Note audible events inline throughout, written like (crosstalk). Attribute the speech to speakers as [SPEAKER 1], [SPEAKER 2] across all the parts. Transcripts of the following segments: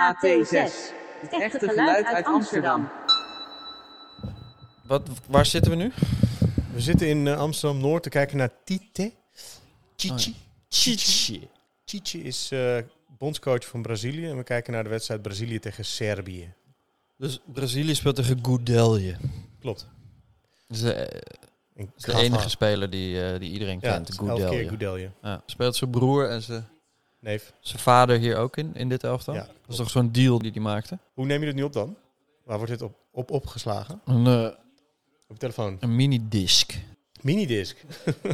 [SPEAKER 1] AT6. Het echte geluid uit Amsterdam.
[SPEAKER 2] Wat, waar zitten we nu?
[SPEAKER 3] We zitten in eh, Amsterdam-Noord te kijken naar Tite.
[SPEAKER 2] Oh,
[SPEAKER 3] Chichi.
[SPEAKER 2] Chichi.
[SPEAKER 3] Chichi is eh, bondscoach van Brazilië. En we kijken naar de wedstrijd Brazilië tegen Servië.
[SPEAKER 2] Dus Brazilië speelt tegen Goudelje.
[SPEAKER 3] Klopt.
[SPEAKER 2] Dat is de,
[SPEAKER 3] En
[SPEAKER 2] is de enige speler die, eh, die iedereen
[SPEAKER 3] Ja, het
[SPEAKER 2] kent,
[SPEAKER 3] is elf keer
[SPEAKER 2] Goudelje.
[SPEAKER 3] Goudelje.
[SPEAKER 2] Ja. Speelt zijn broer en zijn,
[SPEAKER 3] Neef.
[SPEAKER 2] zijn vader hier ook in, in dit elftal?
[SPEAKER 3] Ja,
[SPEAKER 2] dat is
[SPEAKER 3] klopt.
[SPEAKER 2] toch zo'n deal die hij maakte?
[SPEAKER 3] Hoe neem je dit nu op dan? Waar wordt dit op, op opgeslagen?
[SPEAKER 2] Een, eh,
[SPEAKER 3] Op je telefoon.
[SPEAKER 2] een minidisc.
[SPEAKER 3] Minidisc. (laughs)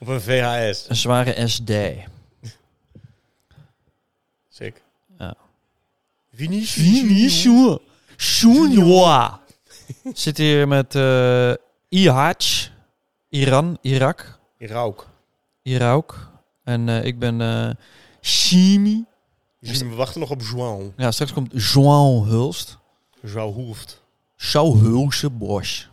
[SPEAKER 3] op een VHS.
[SPEAKER 2] Een zware SD.
[SPEAKER 3] Sick.
[SPEAKER 2] Ja.
[SPEAKER 3] Vinicius.
[SPEAKER 2] Vinicius Junior. Zit hier met eh Ihaj, Iran, Irak,
[SPEAKER 3] Rauk.
[SPEAKER 2] Irak. En eh, ik ben eh Shimi.
[SPEAKER 3] Dus we wachten nog op João.
[SPEAKER 2] Ja, straks komt João Hulst.
[SPEAKER 3] João Hoeft.
[SPEAKER 2] Zou Hulse Bosch.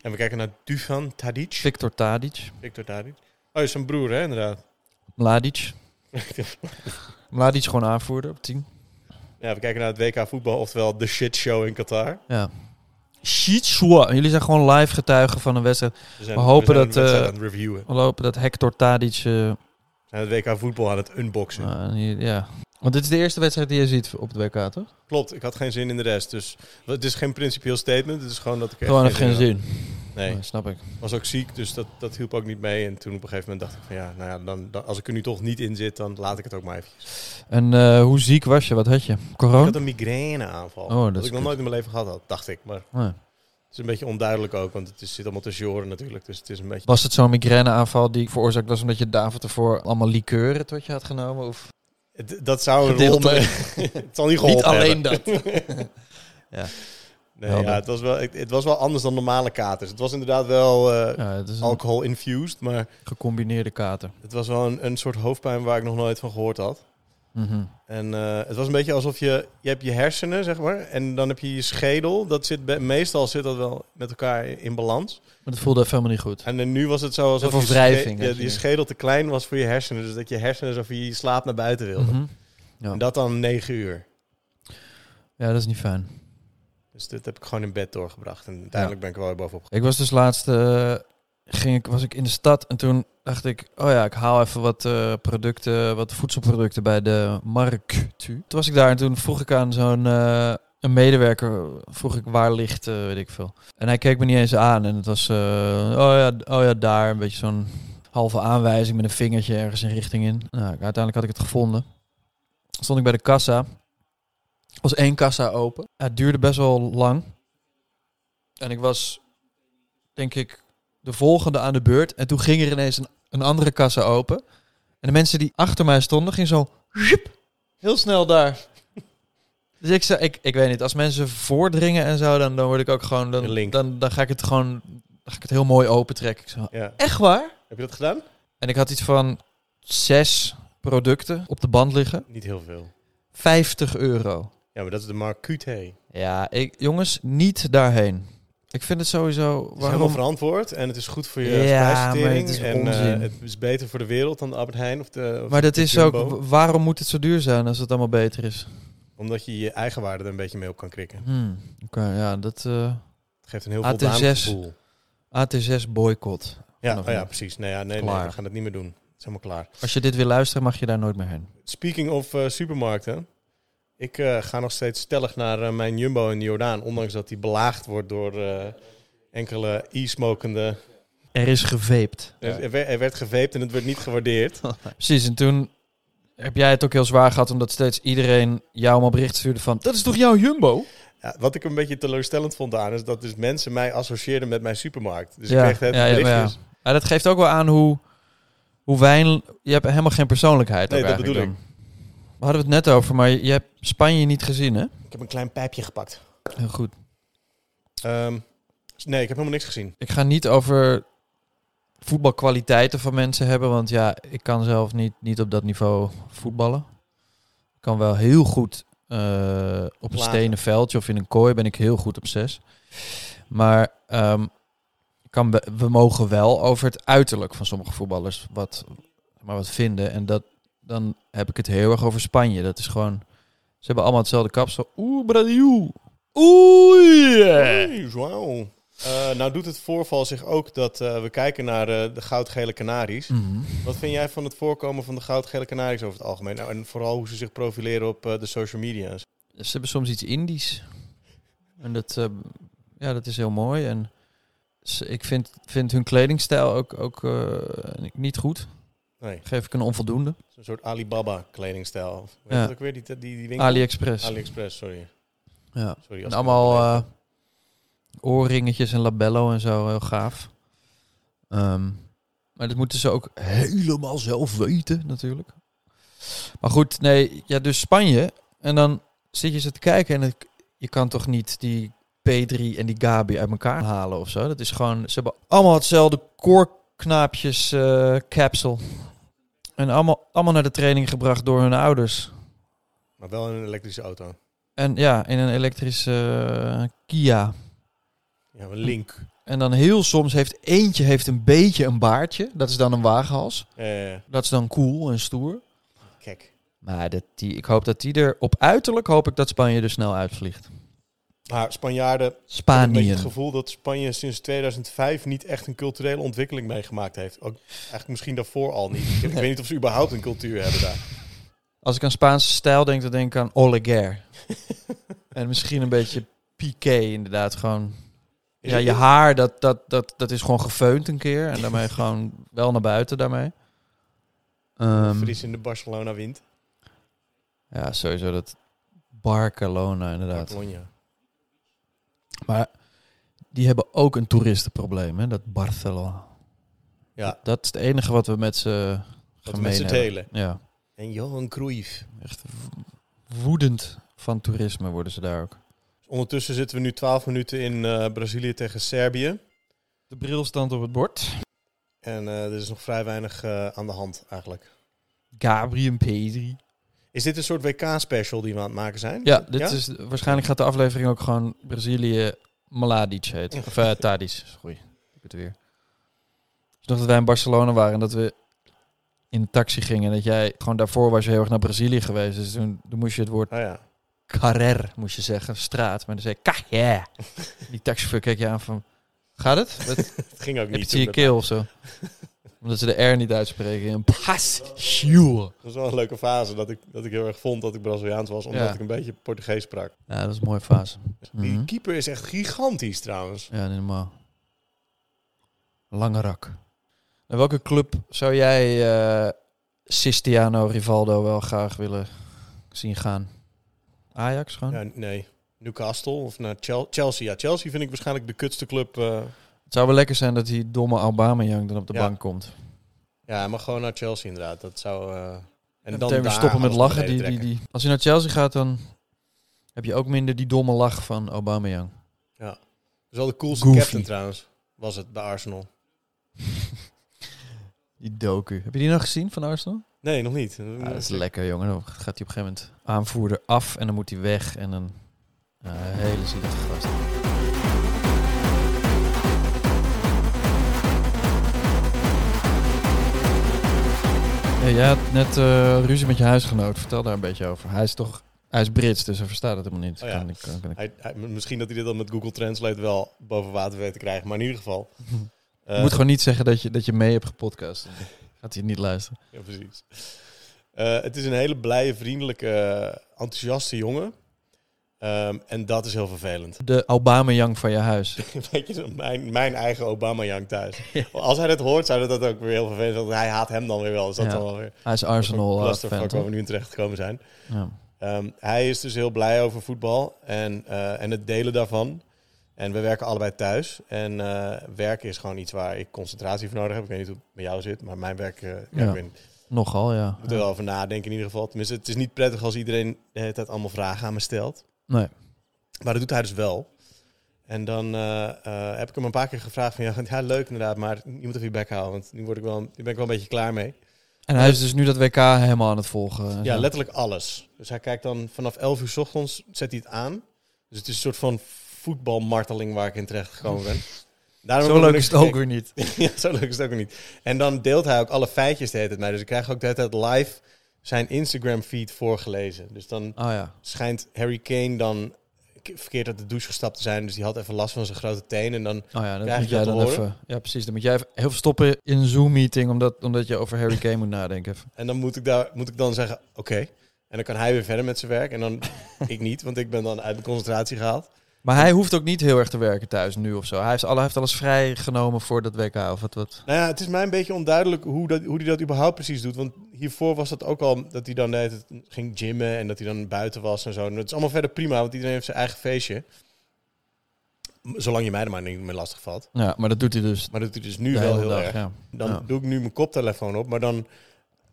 [SPEAKER 3] En we kijken naar Duvan Tadic.
[SPEAKER 2] Victor Tadic.
[SPEAKER 3] Victor Tadic. Oh, is zijn broer hè, inderdaad. (laughs)
[SPEAKER 2] Mladic. Mladic gewoon aanvoerder op 10.
[SPEAKER 3] Ja, we kijken naar het WK voetbal, oftewel de shit show in Qatar.
[SPEAKER 2] Ja. Shitsua. Jullie zijn gewoon live getuigen van een wedstrijd.
[SPEAKER 3] We, zijn,
[SPEAKER 2] We hopen
[SPEAKER 3] zijn
[SPEAKER 2] dat,
[SPEAKER 3] de wedstrijd
[SPEAKER 2] eh,
[SPEAKER 3] aan het reviewen.
[SPEAKER 2] We lopen dat Hector Tadic... eh,
[SPEAKER 3] We zijn het WK voetbal aan het unboxen.
[SPEAKER 2] nou, hier- ja. Want dit is de eerste wedstrijd die je ziet op het WK, toch?
[SPEAKER 3] Klopt, ik had geen zin in de rest. Dus het is geen principieel statement. Het is gewoon dat ik er
[SPEAKER 2] Gewoon
[SPEAKER 3] echt
[SPEAKER 2] heeft geen zin.
[SPEAKER 3] had. Nee,
[SPEAKER 2] Nee, snap ik.
[SPEAKER 3] was ook ziek, dus dat, dat hielp ook niet mee. En toen op een gegeven moment dacht ik van ja, nou ja, dan, dan- als ik er nu toch niet in zit, dan laat ik het ook maar even.
[SPEAKER 2] Oh. En eh, hoe ziek was je? Wat had je?
[SPEAKER 3] Ik
[SPEAKER 2] Corona?
[SPEAKER 3] had een migraineaanval.
[SPEAKER 2] Oh, dat
[SPEAKER 3] dat
[SPEAKER 2] is
[SPEAKER 3] ik nog
[SPEAKER 2] kut.
[SPEAKER 3] nooit in mijn leven gehad had, dacht ik. Maar
[SPEAKER 2] Nee.
[SPEAKER 3] het is een beetje onduidelijk ook, want het is, zit allemaal tussen je oren natuurlijk. Dus het is een beetje...
[SPEAKER 2] Was het zo'n migraineaanval die veroorzaakt was omdat je de avond ervoor allemaal likeuren tot je had genomen? Of
[SPEAKER 3] Het- dat zou een rol...
[SPEAKER 2] Gedeeltelijk.
[SPEAKER 3] (laughs) het zal niet geholpen hebben. (laughs)
[SPEAKER 2] dat?
[SPEAKER 3] Nee,
[SPEAKER 2] Helder.
[SPEAKER 3] ja, het, was wel, het, het was wel anders dan normale katers. Het was inderdaad wel eh,
[SPEAKER 2] Ja, het is een
[SPEAKER 3] alcohol-infused, maar
[SPEAKER 2] gecombineerde kater.
[SPEAKER 3] het was wel een, een soort hoofdpijn waar ik nog nooit van gehoord had.
[SPEAKER 2] Mhm.
[SPEAKER 3] En eh, het was een beetje alsof je, je hebt je hersenen, zeg maar, en dan heb je je schedel. Dat zit bij- meestal zit dat wel met elkaar in balans.
[SPEAKER 2] Maar het voelde even helemaal niet goed.
[SPEAKER 3] En eh, nu was het zo alsof
[SPEAKER 2] Een
[SPEAKER 3] je,
[SPEAKER 2] verwrijving,
[SPEAKER 3] sche-
[SPEAKER 2] had
[SPEAKER 3] je,
[SPEAKER 2] je
[SPEAKER 3] je
[SPEAKER 2] nu.
[SPEAKER 3] schedel te klein was voor je hersenen. Dus dat je hersenen alsof je je slaap naar buiten wilde.
[SPEAKER 2] Mhm.
[SPEAKER 3] En dat dan negen uur.
[SPEAKER 2] Ja, dat is niet fijn.
[SPEAKER 3] Dus dit heb ik gewoon in bed doorgebracht. En uiteindelijk ben ik er wel weer bovenop.
[SPEAKER 2] Ik was dus laatst eh, ging ik, was ik in de stad en toen dacht ik, oh ja, ik haal even wat eh, producten, wat voedselproducten bij de markt. Toen was ik daar en toen vroeg ik aan zo'n eh, een medewerker, vroeg ik waar ligt, eh, weet ik veel. En hij keek me niet eens aan en het was, eh, oh, ja, d- oh ja, daar, een beetje zo'n halve aanwijzing met een vingertje ergens een richting in. Nou, uiteindelijk had ik het gevonden. Stond ik bij de kassa. Er was één kassa open. Ja, het duurde best wel lang. En ik was denk ik, de volgende aan de beurt. En toen ging er ineens een, een andere kassa open. En de mensen die achter mij stonden, gingen zo zhup, heel snel daar. Dus ik, zei, ik, ik weet niet, als mensen voordringen en zo, dan, dan word ik ook gewoon.
[SPEAKER 3] Een
[SPEAKER 2] Dan,
[SPEAKER 3] link.
[SPEAKER 2] dan, dan ga ik het gewoon. Dan ga ik het heel mooi opentrekken. Ik zo,
[SPEAKER 3] Ja.
[SPEAKER 2] echt waar?
[SPEAKER 3] Heb je dat gedaan?
[SPEAKER 2] En ik had iets van zes producten op de band liggen.
[SPEAKER 3] Niet heel veel.
[SPEAKER 2] 50 euro.
[SPEAKER 3] Ja, maar dat is de Marcute.
[SPEAKER 2] Ja, ik, jongens, niet daarheen. Ik vind het sowieso.
[SPEAKER 3] Het is
[SPEAKER 2] Waarom?
[SPEAKER 3] helemaal verantwoord en het is goed voor je
[SPEAKER 2] Ja,
[SPEAKER 3] prijsvertering.
[SPEAKER 2] maar het is
[SPEAKER 3] en eh,
[SPEAKER 2] onzin.
[SPEAKER 3] het is beter voor de wereld dan de Albert Heijn of de of
[SPEAKER 2] Maar dat
[SPEAKER 3] de
[SPEAKER 2] is ook.
[SPEAKER 3] Jumbo.
[SPEAKER 2] w- Waarom moet het zo duur zijn als het allemaal beter is?
[SPEAKER 3] Omdat je je eigen waarde er een beetje mee op kan krikken.
[SPEAKER 2] Hmm. Oké, ja, dat. eh,
[SPEAKER 3] Het geeft een heel
[SPEAKER 2] AT6.
[SPEAKER 3] voldaan gevoel.
[SPEAKER 2] AT6 boycott.
[SPEAKER 3] Ja,
[SPEAKER 2] Oh, Nog
[SPEAKER 3] oh ja,
[SPEAKER 2] niet.
[SPEAKER 3] precies. Nee, ja, nee, nee,
[SPEAKER 2] Klaar.
[SPEAKER 3] we gaan het niet meer doen. Het is helemaal klaar.
[SPEAKER 2] Als je dit wil luisteren, mag je daar nooit meer heen.
[SPEAKER 3] Speaking of eh, supermarkten. Ik eh, ga nog steeds stellig naar eh, mijn Jumbo in de Jordaan. Ondanks dat die belaagd wordt door eh, enkele e-smokende...
[SPEAKER 2] Er is geveept.
[SPEAKER 3] Er, er werd, er werd geveept en het werd niet gewaardeerd.
[SPEAKER 2] Precies, en toen heb jij het ook heel zwaar gehad omdat steeds iedereen jou maar bericht stuurde van... Dat is toch jouw Jumbo?
[SPEAKER 3] Ja, wat ik een beetje teleurstellend vond aan is dat dus mensen mij associeerden met mijn supermarkt. Dus
[SPEAKER 2] Ja,
[SPEAKER 3] ik kreeg het
[SPEAKER 2] ja, ja,
[SPEAKER 3] berichtjes.
[SPEAKER 2] maar Ja, dat geeft ook wel aan hoe, hoe wijn... Je hebt helemaal geen persoonlijkheid.
[SPEAKER 3] Nee,
[SPEAKER 2] ook
[SPEAKER 3] dat
[SPEAKER 2] eigenlijk
[SPEAKER 3] bedoel
[SPEAKER 2] dan. We hadden het net over, maar je, je hebt Spanje niet gezien, hè?
[SPEAKER 3] Ik heb een klein pijpje gepakt.
[SPEAKER 2] Heel goed.
[SPEAKER 3] Ehm, s- nee, ik heb helemaal niks gezien.
[SPEAKER 2] Ik ga niet over voetbalkwaliteiten van mensen hebben, want ja, ik kan zelf niet, niet op dat niveau voetballen. Ik kan wel heel goed eh, op een
[SPEAKER 3] Lager.
[SPEAKER 2] stenen veldje of in een kooi ben ik heel goed op zes. Maar ehm, ik kan we, we mogen wel over het uiterlijk van sommige voetballers wat, maar wat vinden. En dat, dan heb ik het heel erg over Spanje. Dat is gewoon Ze hebben allemaal hetzelfde kapsel. Oeh, Brasil. Oei.
[SPEAKER 3] Hey, João. Eh, nou doet het voorval zich ook dat eh, we kijken naar eh, de goudgele kanaries.
[SPEAKER 2] Mhm.
[SPEAKER 3] Wat vind jij van het voorkomen van de goudgele kanaries over het algemeen? Nou, en vooral hoe ze zich profileren op eh, de social media. en zo.
[SPEAKER 2] Ze hebben soms iets Indisch. En dat, eh, ja, dat is heel mooi. En ze- ik vind, vind hun kledingstijl ook, ook eh, niet goed.
[SPEAKER 3] Nee,
[SPEAKER 2] Geef ik een onvoldoende.
[SPEAKER 3] een soort Alibaba kledingstijl. Weet je
[SPEAKER 2] Ja.
[SPEAKER 3] dat ook weer? Die, die, die winkel?
[SPEAKER 2] AliExpress.
[SPEAKER 3] AliExpress, sorry.
[SPEAKER 2] ja.
[SPEAKER 3] sorry
[SPEAKER 2] En
[SPEAKER 3] als ik-
[SPEAKER 2] allemaal eh, oorringetjes en labello en zo, heel gaaf. Ehm, maar dat moeten ze ook helemaal zelf weten, natuurlijk. Maar goed, nee, ja, dus Spanje. En dan zit je ze te kijken en het- je kan toch niet die P3 en die Gabi uit elkaar halen of zo. Dat is gewoon, ze hebben allemaal hetzelfde koorknaapjes eh capsule. En allemaal, allemaal naar de training gebracht door hun ouders. eh,
[SPEAKER 3] Maar wel in een elektrische auto.
[SPEAKER 2] En ja, in een elektrische eh, Kia.
[SPEAKER 3] Ja, maar link.
[SPEAKER 2] En dan heel soms heeft eentje heeft een beetje een baardje. Dat is dan een wagenhals.
[SPEAKER 3] Eh,
[SPEAKER 2] Dat is dan cool en stoer.
[SPEAKER 3] kijk.
[SPEAKER 2] Maar dat die, ik hoop dat die er op uiterlijk hoop ik dat Spanje er snel uitvliegt.
[SPEAKER 3] Maar Spanjaarden Ik heb een beetje
[SPEAKER 2] Spanje.
[SPEAKER 3] het gevoel dat Spanje sinds 2005 niet echt een culturele ontwikkeling meegemaakt heeft. Ook eigenlijk misschien daarvoor al niet. Ik weet niet of ze überhaupt een cultuur hebben daar.
[SPEAKER 2] Als ik aan Spaanse stijl denk, dan denk ik aan Oleguer. (laughs) en misschien een beetje Piqué inderdaad. Gewoon,
[SPEAKER 3] Is
[SPEAKER 2] ja,
[SPEAKER 3] het-
[SPEAKER 2] je haar, dat, dat, dat, dat is gewoon gefeund een keer. En daarmee gewoon wel naar buiten daarmee. Ehm,
[SPEAKER 3] Fries in de Barcelona wint.
[SPEAKER 2] ja, sowieso dat Barcelona inderdaad.
[SPEAKER 3] Barcelona.
[SPEAKER 2] Maar die hebben ook een toeristenprobleem, hè? Dat Barcelona.
[SPEAKER 3] Ja,
[SPEAKER 2] Dat is het enige wat we met ze
[SPEAKER 3] dat met
[SPEAKER 2] gemeen
[SPEAKER 3] z'n
[SPEAKER 2] hebben.
[SPEAKER 3] delen.
[SPEAKER 2] Ja,
[SPEAKER 3] En Johan Cruijff.
[SPEAKER 2] echt w- woedend van toerisme worden ze daar ook.
[SPEAKER 3] Ondertussen zitten we nu 12 minuten in eh, Brazilië tegen Servië.
[SPEAKER 2] De bril stand op het bord.
[SPEAKER 3] En eh, er is nog vrij weinig eh, aan de hand eigenlijk.
[SPEAKER 2] Gabriel Pedri.
[SPEAKER 3] Is dit een soort WK-special die we aan het maken zijn?
[SPEAKER 2] Ja, dit Is, waarschijnlijk gaat de aflevering ook gewoon Brazilië Maladic heet. Of eh Tadic, sorry. Ik het weer. Dus nog dat wij in Barcelona waren en dat we in een taxi gingen. En dat jij gewoon daarvoor was je heel erg naar Brazilië geweest. Dus toen, toen moest je het woord
[SPEAKER 3] Oh ja.
[SPEAKER 2] carrer, moest je zeggen, straat. Maar dan zei ik, carrer. Die taxichauffeur keek je aan van, gaat het? Wat, heb
[SPEAKER 3] Het ging ook
[SPEAKER 2] je
[SPEAKER 3] niet.
[SPEAKER 2] het in je
[SPEAKER 3] toen.
[SPEAKER 2] keel of zo? (laughs) Omdat ze de R niet uitspreken. Een passioen.
[SPEAKER 3] Dat was wel een leuke fase dat ik, dat ik heel erg vond dat ik Braziliaans was, omdat
[SPEAKER 2] Ja.
[SPEAKER 3] ik een beetje Portugees sprak.
[SPEAKER 2] Ja, dat is een mooie fase.
[SPEAKER 3] Die
[SPEAKER 2] Mhm.
[SPEAKER 3] keeper is echt gigantisch trouwens.
[SPEAKER 2] Ja, niet normaal. Lange rak. En welke club zou jij eh Cristiano Rivaldo wel graag willen zien gaan? Ajax gewoon?
[SPEAKER 3] Ja, nee. Newcastle of naar Chel- Chelsea. Ja, Chelsea vind ik waarschijnlijk de kutste club. eh.
[SPEAKER 2] Het zou wel lekker zijn dat die domme Aubameyang dan op de
[SPEAKER 3] Ja.
[SPEAKER 2] bank komt.
[SPEAKER 3] ja, maar gewoon naar Chelsea inderdaad. Dat zou...
[SPEAKER 2] En,
[SPEAKER 3] eh, en dan
[SPEAKER 2] meteen weer
[SPEAKER 3] daar
[SPEAKER 2] stoppen met
[SPEAKER 3] alles naar
[SPEAKER 2] lachen. Die,
[SPEAKER 3] beneden
[SPEAKER 2] die, die, als hij naar Chelsea gaat, dan heb je ook minder die domme lach van Aubameyang.
[SPEAKER 3] trekken. Dat is wel de coolste
[SPEAKER 2] Goofy.
[SPEAKER 3] captain trouwens. Was het bij Arsenal.
[SPEAKER 2] Die docu. Heb je die nog gezien van Arsenal?
[SPEAKER 3] Nee, nog niet.
[SPEAKER 2] Ja, dat is lekker, jongen. Dan gaat hij op een gegeven moment aanvoerder af en dan moet hij weg. En dan ja, een hele zielige gast. Hey, jij had net eh, ruzie met je huisgenoot. Vertel daar een beetje over. Hij is toch... Hij is Brits, dus hij verstaat het helemaal niet.
[SPEAKER 3] Oh ja.
[SPEAKER 2] Kan ik- kan ik-
[SPEAKER 3] Hij, hij- misschien dat hij dit dan met Google Translate wel boven water weet te krijgen. Maar in ieder geval...
[SPEAKER 2] (laughs) Je
[SPEAKER 3] eh,
[SPEAKER 2] moet gewoon niet zeggen dat je, dat je mee hebt gepodcast. Dan Gaat hij niet luisteren.
[SPEAKER 3] Ja, precies. Eh, het is een hele blije, vriendelijke, eh, enthousiaste jongen. Ehm, en dat is heel vervelend.
[SPEAKER 2] De Aubameyang van je huis.
[SPEAKER 3] (laughs) Een beetje zo mijn, mijn eigen
[SPEAKER 2] (laughs)
[SPEAKER 3] Obama-Yang thuis. Als hij dit hoort, zou dat ook weer heel vervelend zijn. want Hij haat hem dan weer wel. Dus dat
[SPEAKER 2] Ja.
[SPEAKER 3] is dan wel weer
[SPEAKER 2] Hij is
[SPEAKER 3] (laughs) een
[SPEAKER 2] Arsenal eh,
[SPEAKER 3] clusterfuck
[SPEAKER 2] fan.
[SPEAKER 3] waar we
[SPEAKER 2] toch?
[SPEAKER 3] nu in terecht gekomen zijn.
[SPEAKER 2] Ja.
[SPEAKER 3] Ehm, hij is dus heel blij over voetbal en, eh, en het delen daarvan. En we werken allebei thuis. En eh, werken is gewoon iets waar ik concentratie voor nodig heb. Ik weet niet hoe het met jou zit, maar mijn werk... eh, ja,
[SPEAKER 2] Ja.
[SPEAKER 3] ik weet niet.
[SPEAKER 2] Nogal, ja.
[SPEAKER 3] Ik moet er wel over nadenken in ieder geval. Tenminste, het is niet prettig als iedereen de hele tijd allemaal vragen aan me stelt.
[SPEAKER 2] Nee.
[SPEAKER 3] Maar dat doet hij dus wel. En dan eh, eh, heb ik hem een paar keer gevraagd van... Ja, (laughs) ja leuk inderdaad, maar je moet even je bek houden. Want nu, word ik wel, nu ben ik wel een beetje klaar mee.
[SPEAKER 2] En hij is dus nu dat WK helemaal aan het volgen. en
[SPEAKER 3] Ja,
[SPEAKER 2] zo.
[SPEAKER 3] letterlijk alles. Dus hij kijkt dan vanaf 11 uur 's ochtends, zet hij het aan. Dus het is een soort van voetbalmarteling waar ik in terecht gekomen
[SPEAKER 2] (laughs)
[SPEAKER 3] ben. Daarom
[SPEAKER 2] Zo
[SPEAKER 3] heb ik
[SPEAKER 2] leuk
[SPEAKER 3] niks
[SPEAKER 2] is het ook
[SPEAKER 3] (laughs) gekeken.
[SPEAKER 2] weer niet.
[SPEAKER 3] ja, zo leuk is het ook niet. En dan deelt hij ook alle feitjes de hele tijd mee. Dus ik krijg ook de hele tijd live zijn Instagram feed voorgelezen. Dus dan
[SPEAKER 2] Oh ja.
[SPEAKER 3] schijnt Harry Kane dan k- verkeerd uit de douche gestapt te zijn. Dus die had even last van zijn grote teen. En dan
[SPEAKER 2] Oh ja, dat
[SPEAKER 3] Krijg
[SPEAKER 2] moet
[SPEAKER 3] je
[SPEAKER 2] jij
[SPEAKER 3] dat
[SPEAKER 2] dan
[SPEAKER 3] te horen?
[SPEAKER 2] even. Ja, precies. Dan moet jij even heel veel stoppen in een Zoom-meeting, omdat, omdat je over Harry Kane moet nadenken. Even.
[SPEAKER 3] En dan moet ik, daar, moet ik dan zeggen, oké. En dan kan hij weer verder met zijn werk. En
[SPEAKER 2] (laughs)
[SPEAKER 3] dan ik niet, want ik ben dan uit de concentratie gehaald.
[SPEAKER 2] Maar hij hoeft ook niet heel erg te werken thuis nu of zo. Hij heeft, alle, hij heeft alles vrijgenomen voor dat WK of wat. wat.
[SPEAKER 3] Nou ja, het is mij een beetje onduidelijk hoe, dat, hoe hij dat überhaupt precies doet. Want hiervoor was dat ook al dat hij dan de hele tijd ging gymmen en dat hij dan buiten was en zo. En dat is allemaal verder prima, want iedereen heeft zijn eigen feestje. M- Zolang je mij er maar niet mee lastig valt.
[SPEAKER 2] Ja, maar dat doet hij dus
[SPEAKER 3] Maar dat doet hij dus nu
[SPEAKER 2] de
[SPEAKER 3] wel
[SPEAKER 2] hele
[SPEAKER 3] heel
[SPEAKER 2] dag,
[SPEAKER 3] erg.
[SPEAKER 2] ja.
[SPEAKER 3] Dan
[SPEAKER 2] Ja.
[SPEAKER 3] doe ik nu mijn koptelefoon op, maar dan...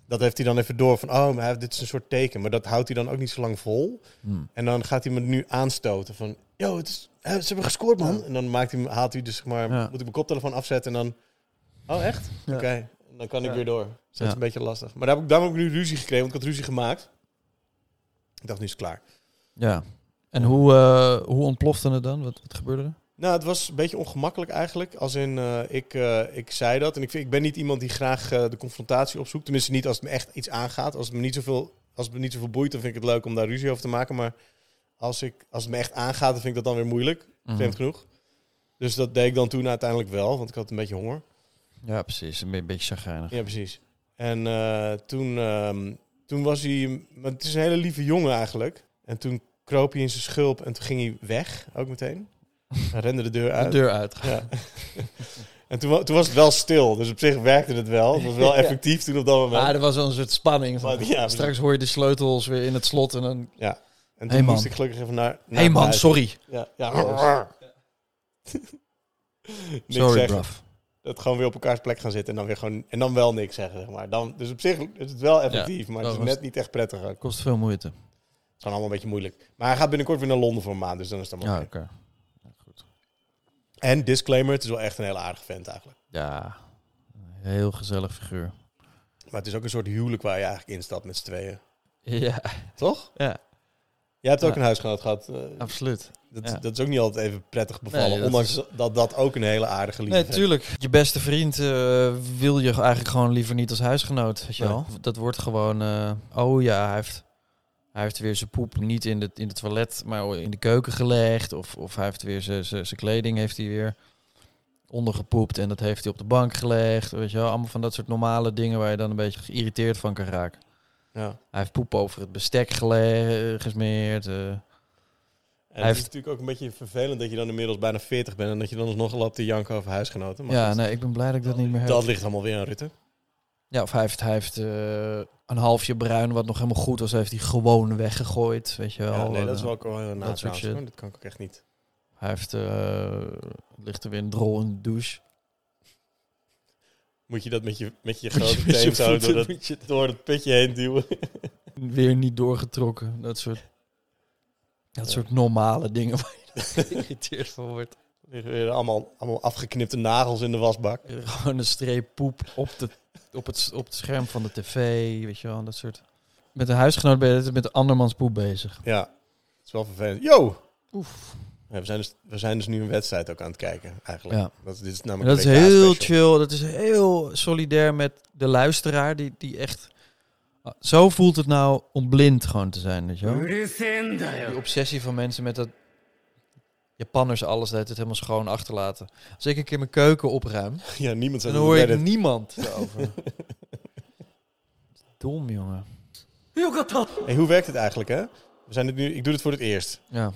[SPEAKER 3] Dat heeft hij dan even door van, oh, maar hij- dit is een soort teken. Maar dat houdt hij dan ook niet zo lang vol.
[SPEAKER 2] Hm.
[SPEAKER 3] En dan gaat hij me nu aanstoten van... Yo, het is, hè, ze hebben gescoord, man. En dan maakt hij, me- haalt hij dus, zeg maar...
[SPEAKER 2] Ja.
[SPEAKER 3] Moet ik mijn koptelefoon afzetten en dan... Oh, echt?
[SPEAKER 2] Ja.
[SPEAKER 3] Oké, dan kan ik
[SPEAKER 2] Ja.
[SPEAKER 3] weer door. Dus dat
[SPEAKER 2] Ja.
[SPEAKER 3] is een beetje lastig. Maar daar heb ik, daarom heb ik nu ruzie gekregen, want ik had ruzie gemaakt. Ik dacht, nu is het klaar.
[SPEAKER 2] Ja. En hoe, eh, hoe ontplofte het dan? Wat, wat gebeurde er?
[SPEAKER 3] Nou, het was een beetje ongemakkelijk eigenlijk. Als in, eh, ik, eh, ik zei dat. En ik, vind- ik ben niet iemand die graag eh, de confrontatie opzoekt. Tenminste, niet als het me echt iets aangaat. Als het me niet zoveel, als het me niet zoveel boeit, dan vind ik het leuk om daar ruzie over te maken. Maar als, ik, als het me echt aangaat, dan vind ik dat dan weer moeilijk.
[SPEAKER 2] Mhm.
[SPEAKER 3] Vreemd genoeg. Dus dat deed ik dan toen uiteindelijk wel, want ik had een beetje honger.
[SPEAKER 2] Ja, precies. Een be- beetje chagrijnig.
[SPEAKER 3] Ja, precies. En eh, toen, ehm, toen was hij... maar Het is een hele lieve jongen eigenlijk. En toen kroop hij in zijn schulp en toen ging hij weg, ook meteen. Hij rende de deur
[SPEAKER 2] De
[SPEAKER 3] uit.
[SPEAKER 2] deur uit.
[SPEAKER 3] Ja. en toen, wa- toen was het wel stil, dus op zich werkte het wel. Het was wel effectief toen op dat moment.
[SPEAKER 2] Maar Ah, er was wel een soort spanning.
[SPEAKER 3] Maar- ja, precies.
[SPEAKER 2] Straks hoor je de sleutels weer in het slot en dan... Hé
[SPEAKER 3] En toen
[SPEAKER 2] Hey, man.
[SPEAKER 3] moest ik gelukkig even naar... naar
[SPEAKER 2] hey man,
[SPEAKER 3] buiten.
[SPEAKER 2] sorry.
[SPEAKER 3] Ja, ja. (laughs) Niks
[SPEAKER 2] Sorry,
[SPEAKER 3] zeggen.
[SPEAKER 2] bruv.
[SPEAKER 3] dat gewoon weer op elkaars plek gaan zitten en dan weer gewoon en dan wel niks zeggen zeg maar. Dan, dus op zich is het wel effectief, maar het
[SPEAKER 2] dat
[SPEAKER 3] is
[SPEAKER 2] was-
[SPEAKER 3] net niet echt prettig. ook. Het
[SPEAKER 2] Kost veel moeite.
[SPEAKER 3] is gewoon allemaal een beetje moeilijk. Maar hij gaat binnenkort weer naar Londen voor een maand, dus dan is dat
[SPEAKER 2] Ja,
[SPEAKER 3] mooi.
[SPEAKER 2] oké.
[SPEAKER 3] En disclaimer, het is wel echt een hele aardige vent eigenlijk.
[SPEAKER 2] Ja, een heel gezellig figuur.
[SPEAKER 3] Maar het is ook een soort huwelijk waar je eigenlijk instapt met z'n tweeën.
[SPEAKER 2] Ja,
[SPEAKER 3] Toch?
[SPEAKER 2] ja
[SPEAKER 3] Jij hebt ook
[SPEAKER 2] Ja.
[SPEAKER 3] een huisgenoot gehad. eh,
[SPEAKER 2] absoluut.
[SPEAKER 3] dat,
[SPEAKER 2] ja.
[SPEAKER 3] dat is ook niet altijd even prettig bevallen,
[SPEAKER 2] Nee, dat
[SPEAKER 3] ondanks dat dat ook een hele aardige liefde
[SPEAKER 2] Nee, tuurlijk. Je beste vriend eh, wil je eigenlijk gewoon liever niet als huisgenoot. Weet je
[SPEAKER 3] Nee.
[SPEAKER 2] wel? Dat wordt gewoon... eh, oh ja, hij heeft, hij heeft weer zijn poep niet in het in het toilet, maar in de keuken gelegd. Of, of hij heeft weer zijn- zijn zijn kleding heeft hij weer ondergepoept en dat heeft hij op de bank gelegd. Weet je wel? Allemaal van dat soort normale dingen waar je dan een beetje geïrriteerd van kan raken.
[SPEAKER 3] Ja.
[SPEAKER 2] Hij heeft poep over het bestek gele- gesmeerd. eh.
[SPEAKER 3] En
[SPEAKER 2] Hij
[SPEAKER 3] het is
[SPEAKER 2] heeft-
[SPEAKER 3] natuurlijk ook een beetje vervelend dat je dan inmiddels bijna 40 bent en dat je dan nog loopt te janken over huisgenoten. Maar
[SPEAKER 2] ja,
[SPEAKER 3] goed,
[SPEAKER 2] nee, ik ben blij dat ik dat niet meer heb.
[SPEAKER 3] dat ligt allemaal weer aan Rutte.
[SPEAKER 2] Ja, of hij heeft, hij heeft eh, een halfje bruin, wat nog helemaal goed was, heeft hij gewoon weggegooid. Weet je wel.
[SPEAKER 3] Ja, nee, dat is
[SPEAKER 2] Eh,
[SPEAKER 3] wel ook wel heel na
[SPEAKER 2] soort
[SPEAKER 3] trouwens,
[SPEAKER 2] shit.
[SPEAKER 3] hoor. Dat kan ik ook echt niet.
[SPEAKER 2] Hij heeft, eh, ligt er weer een drol in de douche.
[SPEAKER 3] Moet je dat met je, met je
[SPEAKER 2] Met je-
[SPEAKER 3] grote
[SPEAKER 2] met je
[SPEAKER 3] teen zo door,
[SPEAKER 2] voeten
[SPEAKER 3] dat, door het putje heen duwen?
[SPEAKER 2] Weer niet doorgetrokken. Dat soort, dat
[SPEAKER 3] Ja.
[SPEAKER 2] soort normale dingen (laughs) waar je (laughs) geïrriteerd van wordt.
[SPEAKER 3] Er liggen Weer allemaal, allemaal afgeknipte nagels in de wasbak.
[SPEAKER 2] Eh, Gewoon een streep poep op, de, op, het, op het scherm van de tv. Weet je wel, dat soort. Met een huisgenoot ben je altijd met andermans poep bezig.
[SPEAKER 3] Ja, het is wel vervelend. Yo!
[SPEAKER 2] Oef.
[SPEAKER 3] Ja, we, zijn dus, we zijn dus nu een wedstrijd ook aan het kijken, eigenlijk.
[SPEAKER 2] Ja.
[SPEAKER 3] Dat, is- dit is
[SPEAKER 2] Maar
[SPEAKER 3] namelijk
[SPEAKER 2] dat is
[SPEAKER 3] een WK special.
[SPEAKER 2] heel chill. Dat is heel solidair met de luisteraar. Die, die echt. ah, Zo voelt het nou om blind gewoon te zijn. Weet je wel? Die obsessie van mensen met dat. Japanners alles dat het helemaal schoon achterlaten. Als ik een keer mijn keuken opruim,
[SPEAKER 3] Ja, niemand
[SPEAKER 2] dan
[SPEAKER 3] zegt
[SPEAKER 2] hoor
[SPEAKER 3] dat
[SPEAKER 2] ik
[SPEAKER 3] het (laughs)
[SPEAKER 2] niemand erover. Dom, jongen.
[SPEAKER 3] Hey, hoe werkt het eigenlijk, hè? We zijn het nu, ik doe dit voor het eerst.
[SPEAKER 2] Ja.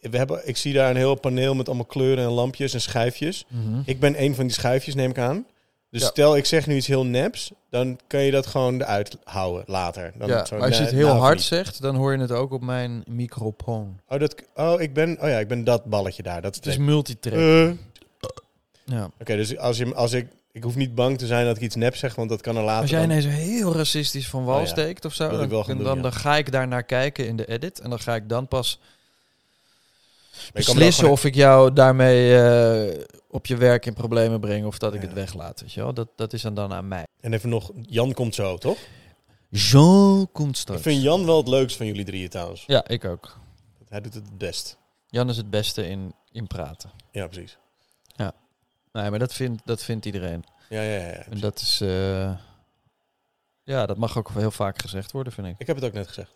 [SPEAKER 3] We hebben, ik zie daar een heel paneel met allemaal kleuren en lampjes en schuifjes.
[SPEAKER 2] Mhm.
[SPEAKER 3] Ik ben een van die schuifjes, neem ik aan. Dus
[SPEAKER 2] Ja.
[SPEAKER 3] stel, ik zeg nu iets heel neps, dan kan je dat gewoon eruit houden later. Dan
[SPEAKER 2] ja.
[SPEAKER 3] zo,
[SPEAKER 2] Maar als je
[SPEAKER 3] nee,
[SPEAKER 2] het heel
[SPEAKER 3] nou of
[SPEAKER 2] hard
[SPEAKER 3] niet.
[SPEAKER 2] zegt, dan hoor je het ook op mijn microfoon.
[SPEAKER 3] Oh, dat, oh, ik ben, oh ja, ik ben dat balletje daar. Dat
[SPEAKER 2] Het is
[SPEAKER 3] nee.
[SPEAKER 2] multitrack.
[SPEAKER 3] Eh. Oké,
[SPEAKER 2] ja.
[SPEAKER 3] dus als, je, als ik... Ik hoef niet bang te zijn dat ik iets neps zeg, want dat kan er later...
[SPEAKER 2] Als jij
[SPEAKER 3] dan-
[SPEAKER 2] ineens heel racistisch van wal
[SPEAKER 3] Oh ja,
[SPEAKER 2] steekt of zo,
[SPEAKER 3] wil ik
[SPEAKER 2] dan,
[SPEAKER 3] wel gaan
[SPEAKER 2] dan,
[SPEAKER 3] doen,
[SPEAKER 2] dan,
[SPEAKER 3] ja.
[SPEAKER 2] ga ik daar naar kijken in de edit. En dan ga ik dan pas
[SPEAKER 3] Maar je kan wel
[SPEAKER 2] beslissen
[SPEAKER 3] gewoon-
[SPEAKER 2] of ik jou daarmee eh, op je werk in problemen breng of dat ik
[SPEAKER 3] Ja.
[SPEAKER 2] het weglaat. Weet je wel? Dat, dat is dan, dan aan mij.
[SPEAKER 3] En even nog, Jan komt zo, toch?
[SPEAKER 2] Jean komt
[SPEAKER 3] Ik
[SPEAKER 2] straks.
[SPEAKER 3] vind Jan wel het leukst van jullie drieën trouwens.
[SPEAKER 2] Ja, ik ook.
[SPEAKER 3] Hij doet het het best.
[SPEAKER 2] Jan is het beste in, in praten.
[SPEAKER 3] Ja, precies.
[SPEAKER 2] Nee, maar dat vindt dat vindt iedereen.
[SPEAKER 3] Ja, ja, ja. ja.
[SPEAKER 2] En dat is, eh, Ja, dat mag ook heel vaak gezegd worden, vind ik.
[SPEAKER 3] Ik heb het ook net gezegd.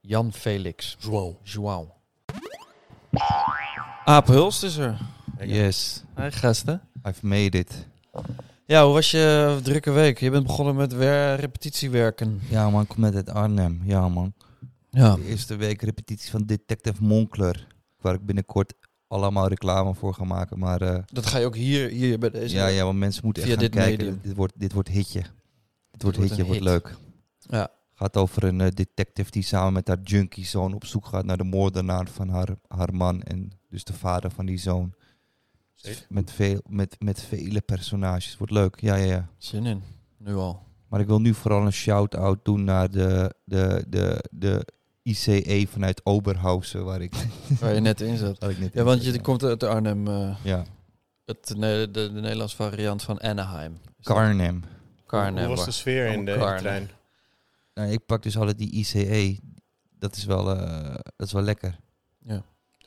[SPEAKER 2] Jan Felix.
[SPEAKER 3] Wow.
[SPEAKER 2] Joao. Aap Hulst is er.
[SPEAKER 4] Yes,
[SPEAKER 2] Hi gasten.
[SPEAKER 4] I've made it.
[SPEAKER 2] Ja, hoe was je drukke week? Je bent begonnen met weer repetitiewerken.
[SPEAKER 4] Ja man, ik kom net uit Arnhem. Ja man.
[SPEAKER 2] Ja.
[SPEAKER 4] De eerste week repetitie van Detective Monkler. Waar ik binnenkort allemaal reclame voor ga maken. Maar eh,
[SPEAKER 2] Dat ga je ook hier, hier bij deze.
[SPEAKER 4] ja, ja, want mensen moeten echt
[SPEAKER 2] Via
[SPEAKER 4] gaan
[SPEAKER 2] dit
[SPEAKER 4] kijken.
[SPEAKER 2] medium.
[SPEAKER 4] Dit wordt, dit wordt hitje. Dit wordt
[SPEAKER 2] wordt
[SPEAKER 4] hitje,
[SPEAKER 2] een
[SPEAKER 4] wordt
[SPEAKER 2] hit.
[SPEAKER 4] leuk.
[SPEAKER 2] Ja.
[SPEAKER 4] Gaat over een eh, detective die samen met haar junkie zoon op zoek gaat naar de moordenaar van haar, haar man. En dus de vader van die zoon.
[SPEAKER 3] Zeker.
[SPEAKER 4] Met, veel, met, met vele personages. Wordt leuk. Ja, ja, ja.
[SPEAKER 2] Zin in. Nu al.
[SPEAKER 4] Maar ik wil nu vooral een shout-out doen naar de, de, de, de ICE vanuit Oberhausen, waar ik,
[SPEAKER 2] Waar je net in zat.
[SPEAKER 4] waar ik net
[SPEAKER 2] Ja, want je komt uit Arnhem. eh,
[SPEAKER 4] Ja,
[SPEAKER 2] het, nee, de, de Nederlandse variant van Anaheim.
[SPEAKER 4] Arnhem.
[SPEAKER 2] Carnhem.
[SPEAKER 3] Hoe was de sfeer in de, in de
[SPEAKER 2] Karne.
[SPEAKER 3] trein?
[SPEAKER 4] Nou, ik pak dus altijd die ICE. Dat is wel, eh, dat is wel lekker.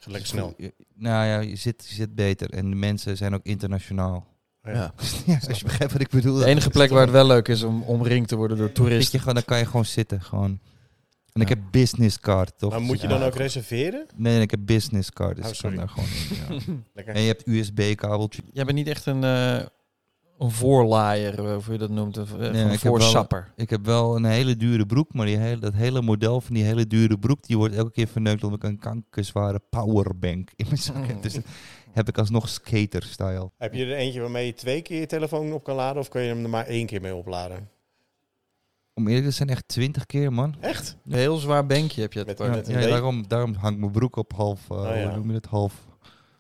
[SPEAKER 3] Gaat lekker snel.
[SPEAKER 4] Je- Nou ja, je zit, je zit beter. En de mensen zijn ook internationaal.
[SPEAKER 3] Oh
[SPEAKER 2] Ja.
[SPEAKER 4] (laughs) ja, als je begrijpt wat ik bedoel.
[SPEAKER 2] De enige plek waar het wel leuk is om omringd te worden door
[SPEAKER 4] Zit je
[SPEAKER 2] toeristen.
[SPEAKER 4] gewoon, dan kan je gewoon zitten. Gewoon. En ik
[SPEAKER 2] Ja.
[SPEAKER 4] heb business card, toch?
[SPEAKER 3] Maar moet je
[SPEAKER 4] Dus-
[SPEAKER 3] dan ook reserveren?
[SPEAKER 4] Nee, nee, ik heb business card, dus
[SPEAKER 3] Oh,
[SPEAKER 4] ik kan
[SPEAKER 3] sorry.
[SPEAKER 4] daar gewoon in,
[SPEAKER 3] (laughs)
[SPEAKER 4] ja.
[SPEAKER 3] Lekker.
[SPEAKER 4] En je hebt USB-kabeltje.
[SPEAKER 2] Jij bent niet echt een, eh een voorlaaier, eh, of hoe je dat noemt. Of, eh,
[SPEAKER 4] Nee,
[SPEAKER 2] een
[SPEAKER 4] ik heb wel-
[SPEAKER 2] voorsapper.
[SPEAKER 4] Ik heb wel een hele dure broek, maar die hele, dat hele model van die hele dure broek, die wordt elke keer verneukt omdat ik een kankerzware powerbank in mijn zak heb.
[SPEAKER 3] Oh.
[SPEAKER 4] Dus dat heb ik alsnog skater-style.
[SPEAKER 3] Heb je er eentje waarmee je twee keer je telefoon op kan laden? Of kan je hem er maar één keer mee opladen?
[SPEAKER 4] Om eerlijk te zijn, echt twintig keer, man.
[SPEAKER 3] Echt?
[SPEAKER 2] Een heel zwaar benkje heb je.
[SPEAKER 3] Met-
[SPEAKER 2] Het,
[SPEAKER 4] Ja,
[SPEAKER 3] net een
[SPEAKER 4] ja,
[SPEAKER 3] week. Oh,
[SPEAKER 4] daarom, daarom hangt mijn broek op half, eh
[SPEAKER 3] ja.
[SPEAKER 4] hoe noem je het, half,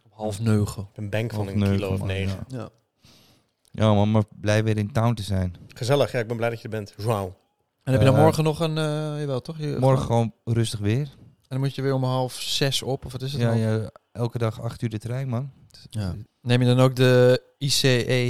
[SPEAKER 2] half neugel.
[SPEAKER 3] Een bank van
[SPEAKER 4] half
[SPEAKER 3] een kilo
[SPEAKER 4] neuken,
[SPEAKER 3] of
[SPEAKER 4] man,
[SPEAKER 3] negen.
[SPEAKER 4] Ja.
[SPEAKER 2] Ja.
[SPEAKER 4] ja, man, maar blij weer in town te zijn.
[SPEAKER 3] Gezellig, ja, ik ben blij dat je er bent. Wow.
[SPEAKER 2] En heb je dan
[SPEAKER 4] Eh,
[SPEAKER 2] morgen nog een... eh jawel, toch? Je-
[SPEAKER 4] Morgen gewoon rustig weer.
[SPEAKER 2] En dan moet je weer om half zes op, of wat is het
[SPEAKER 4] Ja,
[SPEAKER 2] dan?
[SPEAKER 4] ja, elke dag acht uur de trein, man.
[SPEAKER 2] Ja. Neem je dan ook de ICE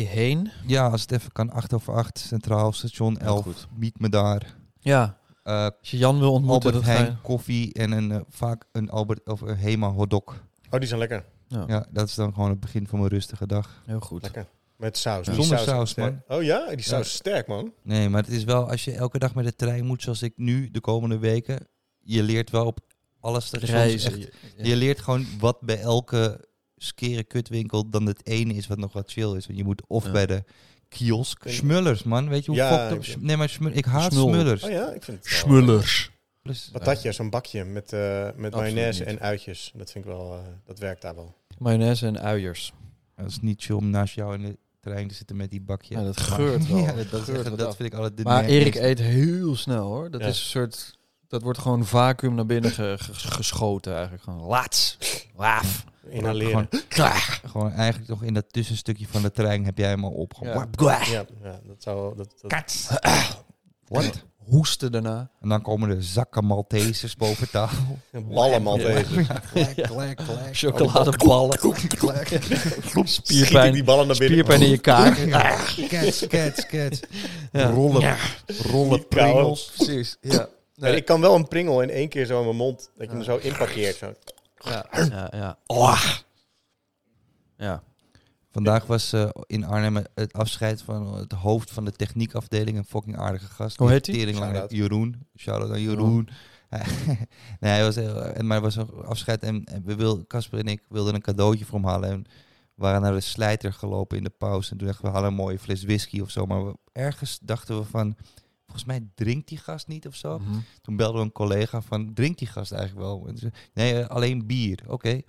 [SPEAKER 2] heen?
[SPEAKER 4] Ja, als het even kan, acht over acht, centraal station,
[SPEAKER 2] Ja,
[SPEAKER 4] elf,
[SPEAKER 2] goed.
[SPEAKER 4] meet me daar.
[SPEAKER 2] Ja.
[SPEAKER 4] Eh,
[SPEAKER 2] Als je Jan wil ontmoeten,
[SPEAKER 4] Albert
[SPEAKER 2] dat ga je-
[SPEAKER 4] Heijn koffie en een, eh, vaak een Albert of een Hema hotdog.
[SPEAKER 3] Oh, die zijn lekker.
[SPEAKER 4] Ja, dat is dan gewoon het begin van mijn rustige dag.
[SPEAKER 2] Heel goed.
[SPEAKER 3] Lekker. Met saus.
[SPEAKER 4] Ja.
[SPEAKER 3] Die
[SPEAKER 4] Zonder
[SPEAKER 3] is
[SPEAKER 4] saus,
[SPEAKER 3] sterk. Oh ja? Die saus is sterk, man.
[SPEAKER 4] Nee, maar het is wel als je elke dag met de trein moet, zoals ik nu de komende weken. Je leert wel op alles te
[SPEAKER 2] Reizen.
[SPEAKER 4] Echt,
[SPEAKER 2] Ja.
[SPEAKER 4] Je leert gewoon wat bij elke skere kutwinkel dan het ene is wat nog wat chill is. Want je moet of
[SPEAKER 2] Ja.
[SPEAKER 4] bij de kiosk.
[SPEAKER 3] Kun je-
[SPEAKER 4] Smullers, man. Weet je hoe
[SPEAKER 3] Ja,
[SPEAKER 4] fucked
[SPEAKER 3] ik-
[SPEAKER 4] up... Sm- Nee, maar smul- ik haat
[SPEAKER 2] Smul.
[SPEAKER 4] smullers.
[SPEAKER 3] Oh ja, ik vind het wel- eh,
[SPEAKER 2] Smullers.
[SPEAKER 4] Plus-
[SPEAKER 3] Patatje, zo'n bakje met, eh, met mayonaise
[SPEAKER 4] niet.
[SPEAKER 3] en uitjes. Dat vind ik wel, eh, dat werkt daar wel.
[SPEAKER 2] Mayonaise en uiers.
[SPEAKER 4] Dat is niet chill om naast jou in de trein te zitten met die bakje.
[SPEAKER 2] Ja, dat
[SPEAKER 4] Maar-
[SPEAKER 2] geurt wel.
[SPEAKER 4] (laughs) Ja,
[SPEAKER 2] Dat
[SPEAKER 4] dat, is
[SPEAKER 2] geurt
[SPEAKER 4] echt-
[SPEAKER 2] wat af.
[SPEAKER 4] dat vind ik altijd de
[SPEAKER 2] Maar
[SPEAKER 4] nergens.
[SPEAKER 2] Erik eet heel snel hoor. Dat
[SPEAKER 3] Ja.
[SPEAKER 2] is een soort. Dat wordt gewoon vacuüm naar binnen ge- ge- geschoten eigenlijk. Gewoon laats. Waaf.
[SPEAKER 3] Inhaleren.
[SPEAKER 4] Gewoon, gewoon eigenlijk nog in dat tussenstukje van de trein heb jij hem al
[SPEAKER 2] Ja.
[SPEAKER 4] opgehouden.
[SPEAKER 3] Ja, ja, dat zou... Dat, dat-
[SPEAKER 4] Wat?
[SPEAKER 2] Hoesten daarna.
[SPEAKER 4] En dan komen de zakken Maltesers boven (laughs) tafel.
[SPEAKER 3] ballen, man.
[SPEAKER 4] (laughs)
[SPEAKER 3] deze.
[SPEAKER 4] Klek, klek, klek.
[SPEAKER 2] Chocoladeballen. (laughs)
[SPEAKER 3] Schiet ik die
[SPEAKER 2] Spierpijn.
[SPEAKER 3] ballen naar binnen.
[SPEAKER 2] Spierpijn in je kaak.
[SPEAKER 4] Ah, Cats, cats, cats.
[SPEAKER 2] Ja.
[SPEAKER 4] Rollen,
[SPEAKER 3] Niet koud.
[SPEAKER 4] rollen pringels.
[SPEAKER 2] Precies. Ja.
[SPEAKER 3] Nee,
[SPEAKER 2] Nee.
[SPEAKER 3] ik kan wel een pringel in één keer zo in mijn mond, dat je
[SPEAKER 4] Ah.
[SPEAKER 3] hem zo inparkeert. Zo.
[SPEAKER 2] Ja. Ja. Ja.
[SPEAKER 4] Oh.
[SPEAKER 2] ja.
[SPEAKER 4] Vandaag was eh, in Arnhem het afscheid van het hoofd van de techniekafdeling. Een fucking aardige gast.
[SPEAKER 2] Hoe heet die?
[SPEAKER 4] Teringlanger,
[SPEAKER 3] Shout-out.
[SPEAKER 4] Jeroen. Shout-out aan Jeroen. (laughs) nee, hij was heel, en, maar het was een afscheid. En, en we wil, Casper en ik wilden een cadeautje voor hem halen. En we waren naar de slijter gelopen in de pauze. En toen dachten we, we halen een mooie fles whisky of zo. Maar we- ergens dachten we van, volgens mij drinkt die gast niet of zo.
[SPEAKER 2] Mhm.
[SPEAKER 4] Toen belden we een collega van, drinkt die gast eigenlijk wel? En ze, nee, eh, alleen bier. Oké. En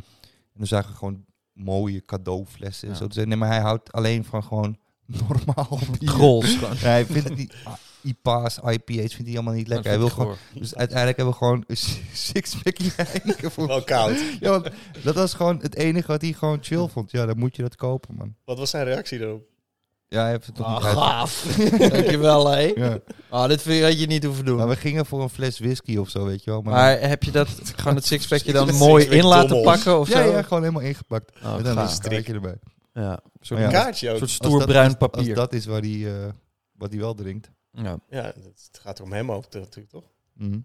[SPEAKER 4] dan zagen we gewoon mooie cadeauflessen en
[SPEAKER 2] Ja.
[SPEAKER 4] zo. Toen zei, nee, maar hij houdt alleen van gewoon (laughs) normaal bier.
[SPEAKER 2] Grols. gewoon.
[SPEAKER 4] Nee, hij vindt het niet... ah, IPA's, IPA's vindt hij allemaal niet lekker. Hij wil
[SPEAKER 2] Dat vind ik
[SPEAKER 4] gewoon,
[SPEAKER 2] goor.
[SPEAKER 4] dus uiteindelijk hebben we gewoon een (laughs) sixpackje Heineken voor.
[SPEAKER 3] Wel oh, koud.
[SPEAKER 4] Ja, want dat was gewoon het enige wat hij gewoon chill vond. Ja, dan moet je dat kopen, man.
[SPEAKER 3] Wat was zijn reactie daarop?
[SPEAKER 4] Ja, hij heeft het toch
[SPEAKER 2] Ah,
[SPEAKER 4] niet uit.
[SPEAKER 2] gaaf. Dankjewel, hé.
[SPEAKER 4] Ja.
[SPEAKER 2] Ah, dit vind je- had je niet hoeven doen.
[SPEAKER 4] Maar we gingen voor een fles whisky of zo, weet je wel. Maar,
[SPEAKER 2] Maar heb je dat gewoon het sixpackje
[SPEAKER 4] (laughs)
[SPEAKER 2] dan
[SPEAKER 3] Een
[SPEAKER 2] mooi
[SPEAKER 3] sixpack
[SPEAKER 2] in laten
[SPEAKER 3] dommels.
[SPEAKER 2] pakken of zo?
[SPEAKER 4] ja, ja, gewoon helemaal ingepakt.
[SPEAKER 2] Oh,
[SPEAKER 4] en dan
[SPEAKER 2] gaaf.
[SPEAKER 4] een strikje erbij.
[SPEAKER 2] Ja, een soort,
[SPEAKER 3] (laughs)
[SPEAKER 4] Ja.
[SPEAKER 3] Een kaartje
[SPEAKER 2] een
[SPEAKER 3] ook.
[SPEAKER 2] soort
[SPEAKER 4] Als
[SPEAKER 2] stoer
[SPEAKER 4] dat-
[SPEAKER 2] bruin
[SPEAKER 4] als-
[SPEAKER 2] papier.
[SPEAKER 4] Als dat is waar hij, eh, wat hij wel drinkt.
[SPEAKER 2] ja.
[SPEAKER 3] Ja, het gaat er om hem ook natuurlijk, toch?
[SPEAKER 4] Mhm.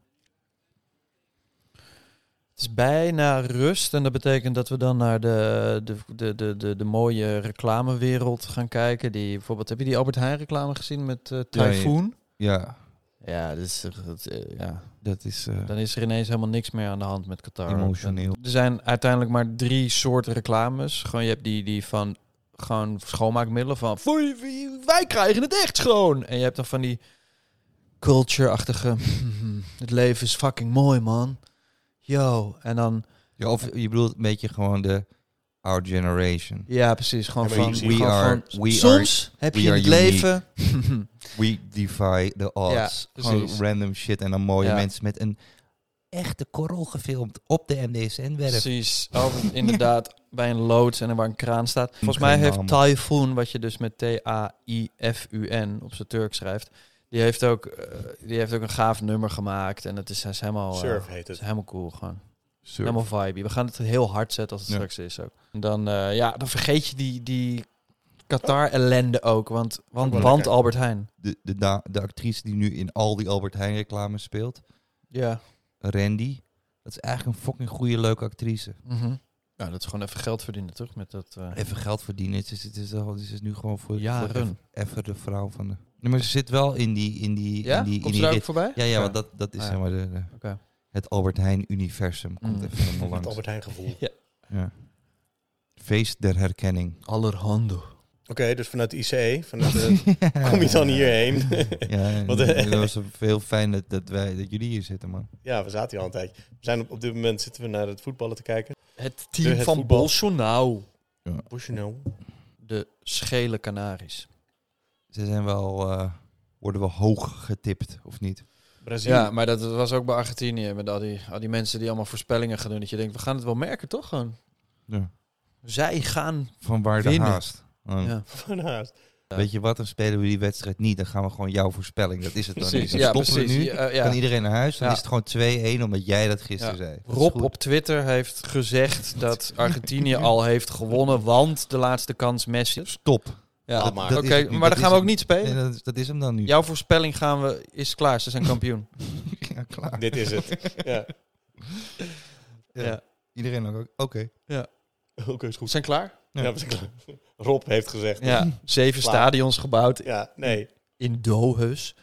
[SPEAKER 2] Het is is bijna rust. En dat betekent dat we dan naar de, de, de, de, de, de mooie reclamewereld gaan kijken. Die, bijvoorbeeld, heb je die Albert Heijn reclame gezien met eh
[SPEAKER 4] Ja, ja.
[SPEAKER 2] Typhoon?
[SPEAKER 4] Ja,
[SPEAKER 2] Ja, dat is, toch- dat, eh, ja,
[SPEAKER 4] dat is... eh,
[SPEAKER 2] dan is er ineens helemaal niks meer aan de hand met Qatar.
[SPEAKER 4] Emotioneel.
[SPEAKER 2] En Er zijn uiteindelijk maar drie soorten reclames. Gewoon, je hebt die, die van gewoon schoonmaakmiddelen van "Foei, foei, wij krijgen het echt schoon. En je hebt dan van die culture-achtige (laughs) het leven is fucking mooi man. Yo, en dan
[SPEAKER 4] ja, of je bedoelt een beetje gewoon de Our Generation.
[SPEAKER 2] ja, precies, gewoon
[SPEAKER 3] Ja, maar
[SPEAKER 2] van
[SPEAKER 3] je
[SPEAKER 4] We,
[SPEAKER 3] ziet-
[SPEAKER 2] gewoon
[SPEAKER 4] are,
[SPEAKER 2] van-
[SPEAKER 4] we, are,
[SPEAKER 2] soms heb
[SPEAKER 4] we
[SPEAKER 2] je
[SPEAKER 4] are
[SPEAKER 2] het
[SPEAKER 4] unique.
[SPEAKER 2] leven (laughs)
[SPEAKER 4] we defy the odds.
[SPEAKER 2] Ja,
[SPEAKER 4] gewoon
[SPEAKER 2] precies.
[SPEAKER 4] random shit en dan mooie
[SPEAKER 2] Ja.
[SPEAKER 4] mensen met een echte korrel gefilmd op de MDSN-werf.
[SPEAKER 2] Precies, over, inderdaad (laughs) bij een loods en er waar een kraan staat. Volgens
[SPEAKER 4] Geen
[SPEAKER 2] mij
[SPEAKER 4] naam.
[SPEAKER 2] heeft Typhoon, wat je dus met T-A-I-F-U-N op zijn Turk schrijft, die heeft ook, eh, die heeft ook een gaaf nummer gemaakt en het is, hij is helemaal,
[SPEAKER 4] Oh,
[SPEAKER 2] eh,
[SPEAKER 3] Surf heet
[SPEAKER 2] is
[SPEAKER 3] het.
[SPEAKER 2] helemaal cool gewoon. Helemaal vibe. We gaan het heel hard zetten als het
[SPEAKER 4] Ja.
[SPEAKER 2] straks is ook. En dan, eh, ja, dan vergeet je die, die Qatar-ellende ook, want, want,
[SPEAKER 3] wel
[SPEAKER 2] want
[SPEAKER 3] lekker.
[SPEAKER 2] Albert Heijn.
[SPEAKER 4] De, de, da- de actrice die nu in al die Albert Heijn reclames speelt,
[SPEAKER 2] Ja.
[SPEAKER 4] Randy, dat is eigenlijk een fucking goede leuke actrice.
[SPEAKER 2] Nou, dat is gewoon even geld verdienen, toch? Met dat, eh,
[SPEAKER 4] Even geld verdienen. Het is, het is, al- het is nu gewoon voor,
[SPEAKER 2] Jaren.
[SPEAKER 4] voor even, even de vrouw van de. Nee, maar ze zit wel in die. In die
[SPEAKER 2] ja?
[SPEAKER 4] in die, in
[SPEAKER 2] Komt
[SPEAKER 4] die
[SPEAKER 2] ze daar ook
[SPEAKER 4] rit.
[SPEAKER 2] voorbij?
[SPEAKER 4] Ja, ja, want dat, dat is
[SPEAKER 2] Ah, ja.
[SPEAKER 4] zeg maar de, de-
[SPEAKER 2] Oké.
[SPEAKER 4] het Albert Heijn-universum. Komt
[SPEAKER 2] Mm. (laughs)
[SPEAKER 4] even helemaal
[SPEAKER 3] Het
[SPEAKER 4] langs.
[SPEAKER 3] Albert Heijn gevoel. Oké,
[SPEAKER 4] Ja. Feest der herkenning.
[SPEAKER 2] (laughs) Allerhande.
[SPEAKER 3] dus vanuit de ICE, vanuit
[SPEAKER 4] (laughs)
[SPEAKER 3] de- kom je dan hierheen?
[SPEAKER 4] Ja, en
[SPEAKER 3] Want, eh,
[SPEAKER 4] het was heel fijn dat, dat, wij, dat jullie hier zitten, man.
[SPEAKER 3] ja, we zaten hier al een tijdje. We zijn op, op dit moment zitten we naar het voetballen te kijken.
[SPEAKER 2] Het
[SPEAKER 3] De-
[SPEAKER 2] team
[SPEAKER 3] het
[SPEAKER 2] van
[SPEAKER 3] voetbal.
[SPEAKER 2] Bolsonaro.
[SPEAKER 3] Bushnell.
[SPEAKER 2] De schele Canaries.
[SPEAKER 4] Ze zijn wel, eh, worden wel hoog getipt, of niet?
[SPEAKER 3] Brazilië.
[SPEAKER 2] Ja, maar dat was ook bij Argentinië. Met al die, al die mensen die allemaal voorspellingen gaan doen. Dat je denkt, we gaan het wel merken, toch? Gewoon.
[SPEAKER 4] Ja.
[SPEAKER 2] Zij gaan...
[SPEAKER 4] Van waar de
[SPEAKER 2] Winnen.
[SPEAKER 4] haast. Oh.
[SPEAKER 2] Ja,
[SPEAKER 3] (laughs) Van haast.
[SPEAKER 4] Weet je wat, dan spelen we die wedstrijd niet. Dan gaan we gewoon jouw voorspelling. Dat is het dan
[SPEAKER 2] precies.
[SPEAKER 4] niet. Dan
[SPEAKER 2] Ja,
[SPEAKER 4] stoppen we
[SPEAKER 2] precies.
[SPEAKER 4] nu.
[SPEAKER 2] Ja,
[SPEAKER 4] Kan
[SPEAKER 2] ja.
[SPEAKER 4] iedereen naar huis. Dan
[SPEAKER 2] Ja.
[SPEAKER 4] is het gewoon 2-1 omdat jij dat gisteren
[SPEAKER 2] Ja.
[SPEAKER 4] zei. Dat is
[SPEAKER 2] Rob
[SPEAKER 4] goed.
[SPEAKER 2] op Twitter heeft gezegd dat
[SPEAKER 4] (laughs)
[SPEAKER 2] Argentinië al heeft gewonnen. Want de laatste kans Messi.
[SPEAKER 4] Stop.
[SPEAKER 2] Ja,
[SPEAKER 3] Ah,
[SPEAKER 2] dat-
[SPEAKER 3] maar.
[SPEAKER 2] oké,
[SPEAKER 4] Dat is het nu,
[SPEAKER 2] maar dan
[SPEAKER 4] dat
[SPEAKER 2] gaan we
[SPEAKER 4] is
[SPEAKER 2] ook niet
[SPEAKER 4] Nee,
[SPEAKER 2] spelen.
[SPEAKER 4] dat, is- dat is hem dan nu.
[SPEAKER 2] Jouw voorspelling gaan we, is klaar. Ze zijn kampioen.
[SPEAKER 4] (laughs) Ja, klaar.
[SPEAKER 3] Dit is het. Ja. (laughs)
[SPEAKER 4] Ja.
[SPEAKER 2] ja.
[SPEAKER 4] Iedereen ook. Oké.
[SPEAKER 3] Oké, is
[SPEAKER 2] We
[SPEAKER 3] goed.
[SPEAKER 2] zijn klaar.
[SPEAKER 4] Ja.
[SPEAKER 3] Ja, we zijn klaar. Rob heeft gezegd. Ja,
[SPEAKER 2] Ja, zeven
[SPEAKER 3] Klaar.
[SPEAKER 2] stadions gebouwd
[SPEAKER 3] nee.
[SPEAKER 2] in Dohus.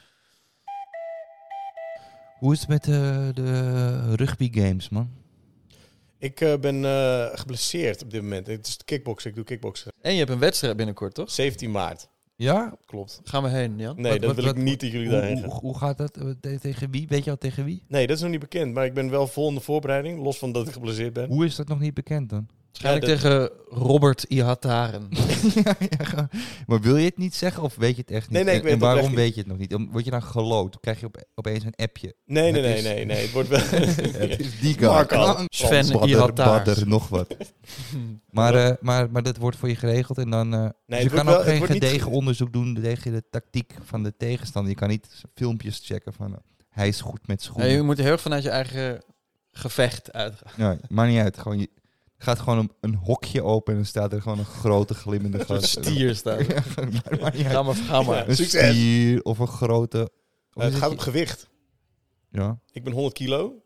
[SPEAKER 4] Hoe is het met eh, de rugby games, man?
[SPEAKER 3] Ik eh, ben eh, geblesseerd op dit moment. Het is kickboksen. Ik doe kickboksen.
[SPEAKER 2] En je hebt een wedstrijd binnenkort, toch?
[SPEAKER 3] 17 maart.
[SPEAKER 4] Ja?
[SPEAKER 3] Klopt.
[SPEAKER 2] Gaan we heen, Jan?
[SPEAKER 3] Nee,
[SPEAKER 4] Wat-
[SPEAKER 3] dat
[SPEAKER 4] wat-
[SPEAKER 3] wil
[SPEAKER 4] wat-
[SPEAKER 3] ik niet dat jullie
[SPEAKER 4] Hoe,
[SPEAKER 3] daarheen gaan.
[SPEAKER 4] hoe, hoe gaat dat? Eh, te- tegen wie? Weet je al tegen wie?
[SPEAKER 3] Nee, dat is nog niet bekend. Maar ik ben wel vol in de voorbereiding. Los van dat ik geblesseerd ben.
[SPEAKER 4] Hoe is dat nog niet bekend dan?
[SPEAKER 2] Waarschijnlijk
[SPEAKER 3] Ja,
[SPEAKER 2] tegen Robert Ihataren.
[SPEAKER 4] (laughs) Ja, ja, gewoon. maar wil je het niet zeggen of weet je het echt niet?
[SPEAKER 3] Nee, nee, ik
[SPEAKER 4] En-
[SPEAKER 3] weet
[SPEAKER 4] en
[SPEAKER 3] het oprecht
[SPEAKER 4] waarom
[SPEAKER 3] niet.
[SPEAKER 4] weet je het nog niet? Om- Word je dan geloot? Krijg je op, opeens een
[SPEAKER 3] (laughs)
[SPEAKER 4] appje?
[SPEAKER 3] Nee, nee,
[SPEAKER 4] Het
[SPEAKER 3] nee,
[SPEAKER 4] is-
[SPEAKER 3] nee, nee. Het wordt
[SPEAKER 4] (laughs)
[SPEAKER 3] wel...
[SPEAKER 4] Het is die guy.
[SPEAKER 3] Marco.
[SPEAKER 2] Sven
[SPEAKER 4] Badder,
[SPEAKER 2] Ihataren.
[SPEAKER 4] badder, nog
[SPEAKER 2] (laughs)
[SPEAKER 4] wat. maar, eh, maar, maar dat wordt voor je geregeld en dan... eh, dus
[SPEAKER 3] het
[SPEAKER 4] je
[SPEAKER 3] wordt
[SPEAKER 4] kan
[SPEAKER 3] wel-
[SPEAKER 4] ook
[SPEAKER 3] het
[SPEAKER 4] geen
[SPEAKER 3] wordt niet
[SPEAKER 4] gedegen
[SPEAKER 3] ge-
[SPEAKER 4] onderzoek doen tegen de tactiek van de tegenstander. Je kan niet s- filmpjes checken van... eh, hij is goed met schoenen.
[SPEAKER 2] Nee, je moet heel erg vanuit je eigen gevecht (laughs) uitgaan.
[SPEAKER 4] Nee, maakt niet uit. Gewoon, je gaat gewoon een, een hokje open en dan staat er gewoon een grote
[SPEAKER 2] (laughs)
[SPEAKER 4] glimmende
[SPEAKER 2] Een
[SPEAKER 4] gast. (laughs)
[SPEAKER 2] stier staan.
[SPEAKER 4] Ja, gewoon, maakt- maakt niet uit.
[SPEAKER 2] Ga maar, ga maar.
[SPEAKER 3] (laughs)
[SPEAKER 4] Een
[SPEAKER 3] Succes.
[SPEAKER 4] stier of een grote... Of
[SPEAKER 3] Eh,
[SPEAKER 4] is
[SPEAKER 3] het gaat op
[SPEAKER 4] je-
[SPEAKER 3] gewicht.
[SPEAKER 4] Ja.
[SPEAKER 3] Ik ben 100 kilo.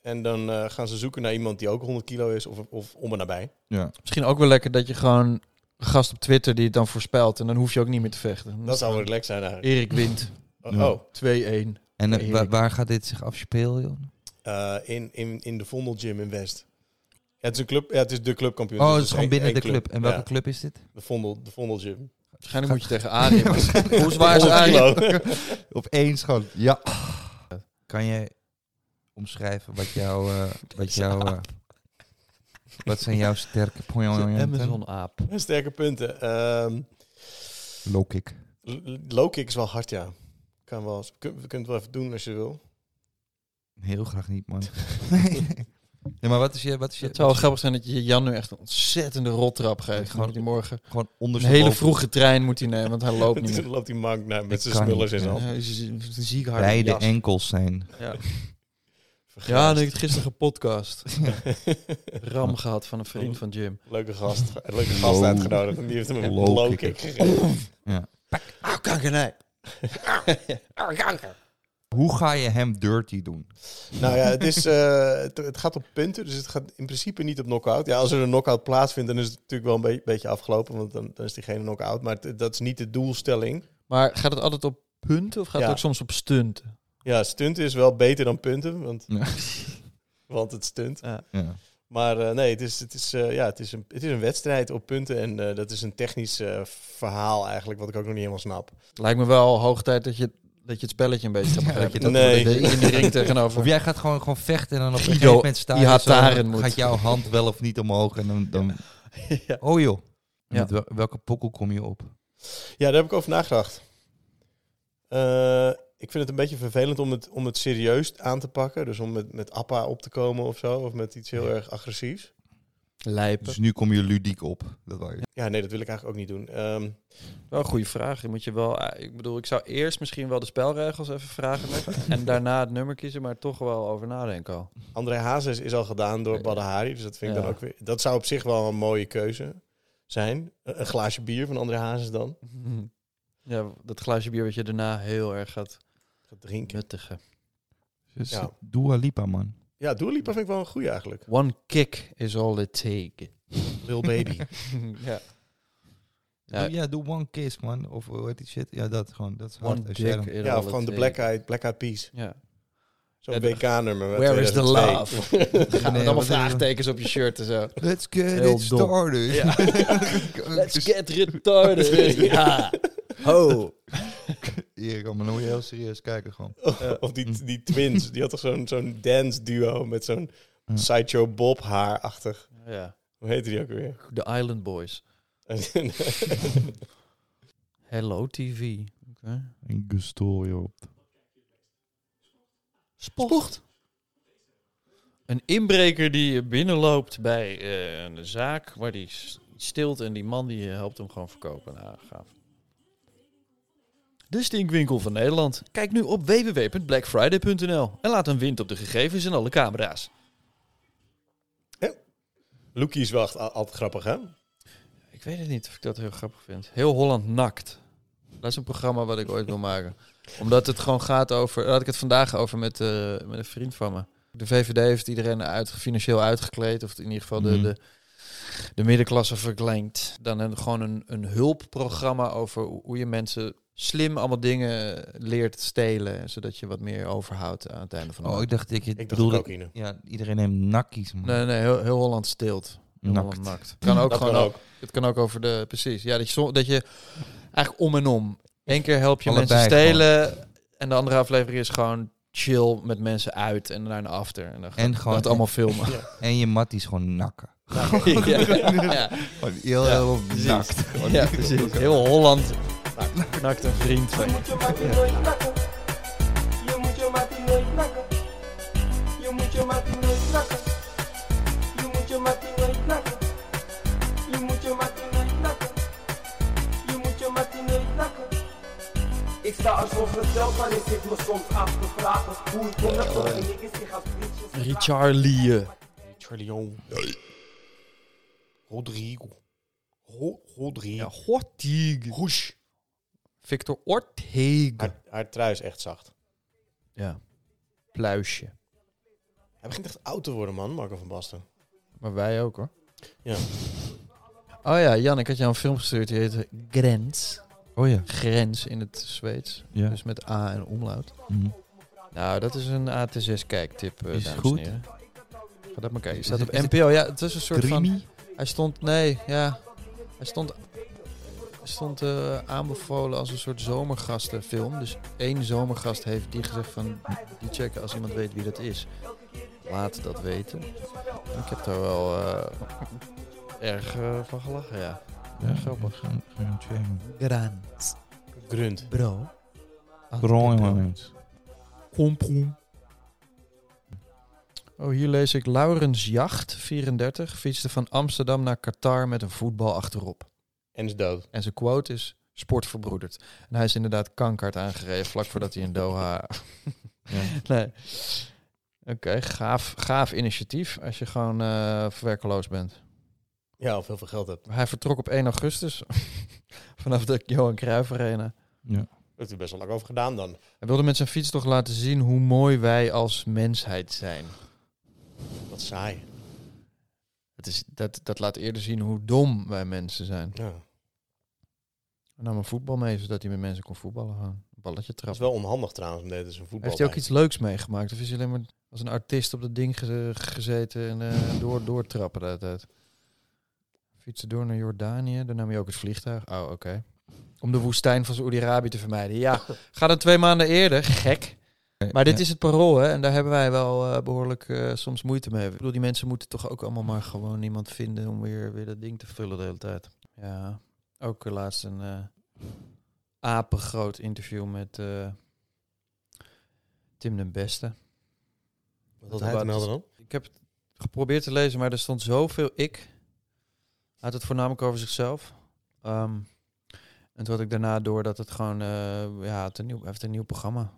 [SPEAKER 3] En dan eh, gaan ze zoeken naar iemand die ook 100 kilo is of, of om en nabij.
[SPEAKER 4] ja.
[SPEAKER 2] Misschien ook wel lekker dat je gewoon een gast op Twitter die het dan voorspelt. En dan hoef je ook niet meer te vechten.
[SPEAKER 3] Dat zou wel relaxed zijn eigenlijk.
[SPEAKER 2] Erik wint.
[SPEAKER 3] Oh,
[SPEAKER 4] Ja.
[SPEAKER 3] oh.
[SPEAKER 2] 2-1.
[SPEAKER 4] En eh,
[SPEAKER 2] Nee,
[SPEAKER 4] wa-
[SPEAKER 2] Erik.
[SPEAKER 4] waar gaat dit zich afspelen, joh?
[SPEAKER 3] Eh, in, in, in de Vondel Gym in West. Ja, het is een club. Ja, het is de clubkampioen.
[SPEAKER 4] Oh,
[SPEAKER 3] dus
[SPEAKER 4] het is gewoon
[SPEAKER 3] één-
[SPEAKER 4] binnen
[SPEAKER 3] één
[SPEAKER 4] de club. En welke
[SPEAKER 3] Ja,
[SPEAKER 4] club is dit?
[SPEAKER 3] de Vondel, de Vondel
[SPEAKER 4] (laughs)
[SPEAKER 3] Gym.
[SPEAKER 2] Waarschijnlijk moet (laughs) je tegen Arie. maar- Hoe zwaar is Arie?
[SPEAKER 4] Opeens gewoon, ja. Kan jij omschrijven wat jouw... eh, wat, jouw eh, wat zijn jouw sterke punten?
[SPEAKER 2] Amazon-aap.
[SPEAKER 3] (laughs) Sterke punten. Ehm,
[SPEAKER 4] Low kick.
[SPEAKER 3] l- low kick is wel hard, ja. Kan wel, kun, we kunnen het wel even doen als je wil.
[SPEAKER 4] Heel graag
[SPEAKER 2] (laughs)
[SPEAKER 4] niet, man. nee, maar wat is je... Wat is je
[SPEAKER 2] Het zou wel grappig zijn dat je Jan nu echt een ontzettende rottrap geeft. Dan
[SPEAKER 4] Gewoon-
[SPEAKER 2] moet hij morgen
[SPEAKER 4] gewoon
[SPEAKER 2] een
[SPEAKER 4] ondersteboven.
[SPEAKER 2] hele vroege trein moet hij nemen, want hij loopt (laughs)
[SPEAKER 3] (laughs)
[SPEAKER 2] niet meer.
[SPEAKER 3] Toen loopt die mank naar, met
[SPEAKER 4] Ik
[SPEAKER 3] zijn
[SPEAKER 4] kan
[SPEAKER 3] smullers in
[SPEAKER 4] niet,
[SPEAKER 3] zijn hand.
[SPEAKER 2] Ja, hij is een ziek harde
[SPEAKER 4] Beide
[SPEAKER 2] jas.
[SPEAKER 4] enkels zijn.
[SPEAKER 2] Ja,
[SPEAKER 3] Vergrijsd.
[SPEAKER 2] nee, ik heb gisteren gepodcast. (laughs) Ram gehad van een vriend van Jim.
[SPEAKER 3] Leuke gast. Leuke gast
[SPEAKER 4] Low-
[SPEAKER 3] uitgenodigd. En die heeft hem een
[SPEAKER 4] Low
[SPEAKER 3] low
[SPEAKER 4] kick.
[SPEAKER 3] kick gegeven.
[SPEAKER 2] Ah, kanker, nee.
[SPEAKER 4] Hoe ga je hem dirty doen?
[SPEAKER 3] Nou ja, het, is, eh, het, het gaat op punten, dus het gaat in principe niet op knockout. Ja, als er een knockout plaatsvindt, dan is het natuurlijk wel een be- beetje afgelopen, want dan, dan is diegene knockout. Maar het- dat is niet de doelstelling.
[SPEAKER 2] Maar gaat het altijd op punten of gaat
[SPEAKER 3] Ja.
[SPEAKER 2] het ook soms op stunt?
[SPEAKER 3] Ja, stunt is wel beter dan punten, want,
[SPEAKER 4] Ja.
[SPEAKER 3] (laughs) want het stunt.
[SPEAKER 4] Ja.
[SPEAKER 3] Maar eh, nee, het is, het, is, eh, ja, het, is een, het is een wedstrijd op punten en eh, dat is een technisch eh, verhaal eigenlijk, wat ik ook nog niet helemaal snap.
[SPEAKER 2] Het lijkt me wel hoog tijd dat je, dat je het spelletje een beetje gaat begrijpen.
[SPEAKER 4] dat je
[SPEAKER 3] dat- Nee.
[SPEAKER 2] Dat je in de ring tegenover. (laughs)
[SPEAKER 4] Of jij gaat gewoon, gewoon vechten en dan op een
[SPEAKER 2] Guido
[SPEAKER 4] gegeven moment sta je zo,
[SPEAKER 2] Ihataren
[SPEAKER 4] dan
[SPEAKER 2] moet.
[SPEAKER 4] gaat jouw hand wel of niet omhoog en dan...
[SPEAKER 2] (laughs)
[SPEAKER 4] dan... Oh joh.
[SPEAKER 2] Ja.
[SPEAKER 4] Met wel- welke pokkel kom je op?
[SPEAKER 3] Ja, daar heb ik over nagedacht. Eh, ik vind het een beetje vervelend om het, om het serieus aan te pakken. Dus om met, met appa op te komen of zo. Of met iets heel erg agressiefs.
[SPEAKER 2] Lijpen.
[SPEAKER 4] Dus nu kom je ludiek op. Dat wou je.
[SPEAKER 3] Ja, nee, dat wil ik eigenlijk ook niet doen. Ehm,
[SPEAKER 2] Wel een goede vraag. Je moet je wel, eh, ik bedoel, ik zou eerst misschien wel de spelregels even vragen. en daarna het nummer kiezen, maar toch wel over nadenken al.
[SPEAKER 3] André Hazes is al gedaan door Badahari. Dus dat vind ik
[SPEAKER 2] Ja.
[SPEAKER 3] dan ook weer... Dat zou op zich wel een mooie keuze zijn. Een een glaasje bier van André Hazes dan.
[SPEAKER 2] Ja, dat glaasje bier wat je daarna heel erg gaat
[SPEAKER 3] Gaat drinken.
[SPEAKER 2] nuttigen.
[SPEAKER 4] Dus
[SPEAKER 3] Ja.
[SPEAKER 4] Dua Lipa, man.
[SPEAKER 3] Ja, Dua Lipa vind ik wel een goeie eigenlijk.
[SPEAKER 2] One kick is all it takes.
[SPEAKER 3] Lil Baby.
[SPEAKER 2] (laughs) ja. Ja.
[SPEAKER 4] Ja. ja, doe One Kiss, man. Of hoe heet die shit? Ja, dat gewoon. Dat is hard.
[SPEAKER 2] One
[SPEAKER 4] Als jij
[SPEAKER 2] dick
[SPEAKER 4] dan-
[SPEAKER 2] is
[SPEAKER 3] (laughs) ja,
[SPEAKER 2] all
[SPEAKER 3] of gewoon
[SPEAKER 2] it
[SPEAKER 3] de
[SPEAKER 2] takes.
[SPEAKER 3] Black Eyed, Black Eyed Peas.
[SPEAKER 2] Ja. Ja,
[SPEAKER 3] Zo'n
[SPEAKER 2] de-
[SPEAKER 3] WK-nummer. met
[SPEAKER 2] Where is the
[SPEAKER 3] 2002. (laughs)
[SPEAKER 2] love? Dan gaan
[SPEAKER 4] Nee,
[SPEAKER 2] we allemaal
[SPEAKER 4] wat is-
[SPEAKER 2] vraagtekens op je shirt en zo.
[SPEAKER 4] Let's get
[SPEAKER 2] Heel
[SPEAKER 4] it
[SPEAKER 2] dom.
[SPEAKER 4] started. (laughs)
[SPEAKER 2] Ja. (laughs) Let's get (laughs)
[SPEAKER 3] (laughs)
[SPEAKER 2] retarded. ja. Ho.
[SPEAKER 4] Hier, man, dan moet je heel serieus kijken gewoon.
[SPEAKER 2] Eh,
[SPEAKER 3] Of
[SPEAKER 2] mm.
[SPEAKER 3] die, die twins. Die had toch zo'n zo'n dance duo met zo'n
[SPEAKER 4] Ja.
[SPEAKER 3] Sideshow Bob haarachtig.
[SPEAKER 2] Ja.
[SPEAKER 3] Hoe heette die ook weer? (laughs)
[SPEAKER 2] De Island Boys. Hello TV.
[SPEAKER 4] En Gustorio.
[SPEAKER 2] Sport. Een inbreker die binnenloopt bij eh, een zaak waar die s- stilt en die man die eh, helpt hem gewoon verkopen. Nou, gaaf. De stinkwinkel van Nederland. Kijk nu op www.blackfriday.nl en laat een wind op de gegevens en alle camera's.
[SPEAKER 3] Loekie is wel echt al- altijd grappig, hè?
[SPEAKER 2] Ik weet het niet of ik dat heel grappig vind. Heel Holland nakt. Dat is een programma wat ik ooit wil maken. Omdat het gewoon gaat over... Daar had ik het vandaag over met, eh, met een vriend van me. De VVD heeft iedereen uit, financieel uitgekleed. Of in ieder geval de,
[SPEAKER 4] Mhm.
[SPEAKER 2] de, de middenklasse verkleind. Dan een, gewoon een, een hulpprogramma over hoe hoe je mensen slim allemaal dingen leert stelen. Zodat je wat meer overhoudt aan het einde van de
[SPEAKER 4] Oh,
[SPEAKER 2] maand.
[SPEAKER 4] ik dacht ik, ik
[SPEAKER 3] Ik dacht
[SPEAKER 4] bedoelde...
[SPEAKER 3] ook in.
[SPEAKER 4] Ja, iedereen neemt nakkies, man.
[SPEAKER 2] Nee, nee, heel, heel Holland stilt. Heel
[SPEAKER 4] Nakt.
[SPEAKER 2] Holland nakt. Kan ook
[SPEAKER 3] Dat
[SPEAKER 2] gewoon
[SPEAKER 3] kan ook.
[SPEAKER 2] Het kan ook over de. Precies. Ja, dat je, som- dat je eigenlijk om en om. Eén keer help je
[SPEAKER 4] Allebei
[SPEAKER 2] mensen stelen. En de andere aflevering is gewoon chill met mensen uit en naar een after. En dan gaat
[SPEAKER 4] En gewoon...
[SPEAKER 2] het allemaal filmen.
[SPEAKER 4] En je matties gewoon nakken.
[SPEAKER 2] ja, (laughs) ja,
[SPEAKER 4] Gewoon heel,
[SPEAKER 2] Ja,
[SPEAKER 4] heel
[SPEAKER 2] precies.
[SPEAKER 4] nakt. Gewoon
[SPEAKER 2] ja, precies. Heel Holland Nou, (laughs) knakt een vriend van
[SPEAKER 5] Je
[SPEAKER 2] je.
[SPEAKER 5] moet je mattie nooit nakken. Je moet je mattie nooit nakken. Je moet je mattie nooit nakken. Je moet je mattie nooit nakken. Je moet je mattie nooit nakken. Je moet je mattie nooit nakken. Ik sta er soms mezelf aan en ik zit me soms af te vragen hoe ik kon dat toch en ik is zich als vriendjes.
[SPEAKER 2] Richard Lee.
[SPEAKER 3] Charlie Jong. Rodrigo. Ro-
[SPEAKER 2] Ja,
[SPEAKER 3] Rodrigo.
[SPEAKER 2] Hortig. Victor Ortega.
[SPEAKER 3] Haar, haar trui is echt zacht.
[SPEAKER 2] Ja. Pluisje.
[SPEAKER 3] Hij begint echt oud te worden, man, Marco van Basten.
[SPEAKER 2] Maar wij ook hoor.
[SPEAKER 3] Ja.
[SPEAKER 2] Oh ja, Jan, ik had jou een film gestuurd. Die heette Grens.
[SPEAKER 4] Oh ja.
[SPEAKER 2] Grens in het Zweeds.
[SPEAKER 4] Ja.
[SPEAKER 2] Dus met A en omlaut.
[SPEAKER 4] Mhm.
[SPEAKER 2] Nou, dat is een AT6 kijktip, eh,
[SPEAKER 4] Is
[SPEAKER 2] dames
[SPEAKER 4] goed?
[SPEAKER 2] en heren. Ga dat maar kijken.
[SPEAKER 4] Is
[SPEAKER 2] Staat
[SPEAKER 4] het-
[SPEAKER 2] op
[SPEAKER 4] is het
[SPEAKER 2] NPO. Ja, het was een soort van...
[SPEAKER 4] Creamy?
[SPEAKER 2] Hij stond... Nee, ja. Hij stond... Hij stond eh, aanbevolen als een soort zomergastenfilm. Dus één zomergast heeft die gezegd van... Die checken als iemand weet wie dat is. Laat dat weten. Ik heb daar wel eh, (laughs) erg eh, van gelachen, ja.
[SPEAKER 4] Ja,
[SPEAKER 2] Grappig.
[SPEAKER 4] Gewoon gewoon checken.
[SPEAKER 2] Grand,
[SPEAKER 3] Grunt.
[SPEAKER 2] bro.
[SPEAKER 4] Gewoon, man.
[SPEAKER 2] Komproem. Oh, hier lees ik Laurens Jacht, 34, fietste van Amsterdam naar Qatar met een voetbal achterop.
[SPEAKER 3] En is dood.
[SPEAKER 2] En zijn quote is, sport verbroederd. En hij is inderdaad kankerd aangereden, vlak voordat hij in Doha... nee. Oké, gaaf, gaaf initiatief als je gewoon eh verwerkeloos bent.
[SPEAKER 3] Ja, of heel veel geld hebt.
[SPEAKER 2] (laughs) Hij vertrok op 1 augustus vanaf de Johan Cruijff Arena.
[SPEAKER 4] Ja.
[SPEAKER 3] heeft er best wel lang over gedaan dan.
[SPEAKER 2] Hij wilde met zijn fiets toch laten zien hoe mooi wij als mensheid zijn.
[SPEAKER 3] Wat saai.
[SPEAKER 2] Dat, is, dat, dat laat eerder zien hoe dom wij mensen zijn.
[SPEAKER 3] Ja.
[SPEAKER 2] Hij nam een voetbal mee, zodat hij met mensen kon voetballen gaan. Een balletje
[SPEAKER 3] Dat is
[SPEAKER 2] trappen.
[SPEAKER 3] wel onhandig trouwens, om dit is een voetbal.
[SPEAKER 2] Heeft hij ook iets leuks meegemaakt? Of is hij alleen maar als een artiest op dat ding ge- gezeten en
[SPEAKER 3] (laughs)
[SPEAKER 2] eh, door, doortrappen de hele tijd? Fietsen door naar Jordanië, daar nam hij ook het vliegtuig. Oh, oké. Om de woestijn van Saoedi-Arabië te vermijden.
[SPEAKER 3] (laughs)
[SPEAKER 2] Ja, ga dan twee maanden eerder. Gek. Maar dit is het parool, hè? En daar hebben wij wel eh, behoorlijk eh, soms moeite mee. Ik bedoel, die mensen moeten toch ook allemaal maar gewoon iemand vinden om weer, weer dat ding te vullen de hele tijd. Ja, ook eh, laatst een eh, apengroot interview met eh, Tim den Beste.
[SPEAKER 3] Wat had hij te melden dan?
[SPEAKER 2] Ik heb het geprobeerd te lezen, maar er stond zoveel ik. Hij had het voornamelijk over zichzelf. Ehm, en toen had ik daarna door dat het gewoon... eh, ja, het een nieuw, hij heeft een nieuw programma.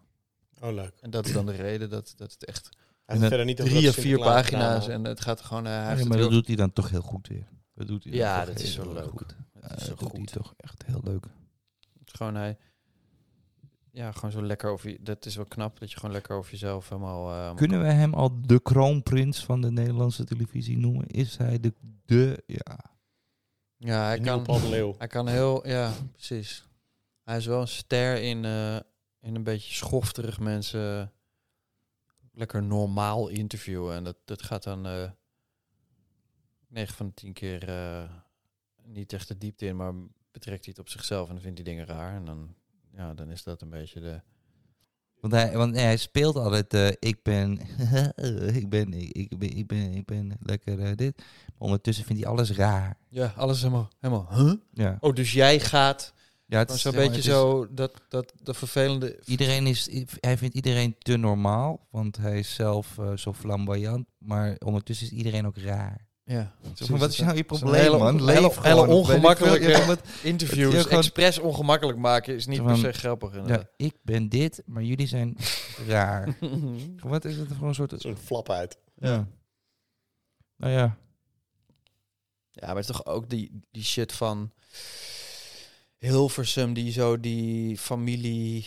[SPEAKER 3] Oh, leuk.
[SPEAKER 2] En dat is dan de reden dat, dat het echt
[SPEAKER 3] Hij heeft
[SPEAKER 4] En
[SPEAKER 3] verder niet over
[SPEAKER 2] drie
[SPEAKER 3] dat
[SPEAKER 2] of vier
[SPEAKER 3] Sinterklaas
[SPEAKER 2] pagina's...
[SPEAKER 3] gedaan,
[SPEAKER 2] en het gaat gewoon... eh, hij heeft
[SPEAKER 4] Ja,
[SPEAKER 2] het
[SPEAKER 4] maar dat
[SPEAKER 2] heel-
[SPEAKER 4] doet hij dan toch heel goed weer. Dat doet hij dan
[SPEAKER 2] Ja,
[SPEAKER 4] toch
[SPEAKER 2] dat is
[SPEAKER 4] heel
[SPEAKER 2] wel leuk.
[SPEAKER 4] Goed.
[SPEAKER 2] het is
[SPEAKER 4] Eh,
[SPEAKER 2] zo
[SPEAKER 4] dat doet hij
[SPEAKER 2] goed.
[SPEAKER 4] toch echt heel leuk.
[SPEAKER 2] Het is gewoon hij... Ja, gewoon zo lekker over... Je, dat is wel knap, dat je gewoon lekker over jezelf helemaal... ehm,
[SPEAKER 4] Kunnen we hem al de kroonprins van de Nederlandse televisie noemen? Is hij de... de ja.
[SPEAKER 2] ja, hij
[SPEAKER 3] De nieuwe
[SPEAKER 2] kan...
[SPEAKER 3] Paul de Leeuw.
[SPEAKER 2] Hij kan heel, ja, precies. Hij is wel een ster in, eh, in een beetje schofterig mensen eh, lekker normaal interviewen. En dat, dat gaat dan eh 9 van de 10 keer eh, niet echt de diepte in, maar betrekt hij het op zichzelf en dan vindt hij dingen raar. En dan, ja, dan is dat een beetje de...
[SPEAKER 4] Want hij, want nee, hij speelt altijd... eh, ik ben... (laughs) ik ben... Ik, ik ben... Ik ben... Ik ben lekker eh, dit. Maar ondertussen vindt hij alles raar.
[SPEAKER 2] Ja, alles helemaal... helemaal huh?
[SPEAKER 4] Ja.
[SPEAKER 2] Oh, dus jij gaat...
[SPEAKER 4] ja het
[SPEAKER 2] Dan
[SPEAKER 4] is
[SPEAKER 2] zo'n
[SPEAKER 4] helemaal-
[SPEAKER 2] beetje
[SPEAKER 4] het is-
[SPEAKER 2] zo dat, dat, dat vervelende...
[SPEAKER 4] Iedereen is, hij vindt iedereen te normaal, want hij is zelf eh, zo flamboyant, maar ondertussen is iedereen ook raar.
[SPEAKER 2] Ja.
[SPEAKER 4] Zo van, wat is nou je
[SPEAKER 2] Zo'n
[SPEAKER 4] probleem,
[SPEAKER 2] hele-
[SPEAKER 4] man?
[SPEAKER 2] hele-
[SPEAKER 4] Leef
[SPEAKER 2] hele
[SPEAKER 4] gewoon, weet ik veel.
[SPEAKER 2] ongemakkelijke-
[SPEAKER 4] Ja, wat-
[SPEAKER 2] Interviews
[SPEAKER 4] Het is gewoon-
[SPEAKER 2] expres ongemakkelijk maken is niet
[SPEAKER 4] Zo
[SPEAKER 2] per
[SPEAKER 4] van-
[SPEAKER 2] se grappig. inderdaad. (laughs)
[SPEAKER 4] ja, ik ben dit, maar jullie zijn (laughs) raar. Wat is het voor een soort...
[SPEAKER 3] Zo'n flap uit.
[SPEAKER 4] Ja. Nou ja.
[SPEAKER 2] Ja, maar het is toch ook die, die shit van Hilversum, die zo die familie,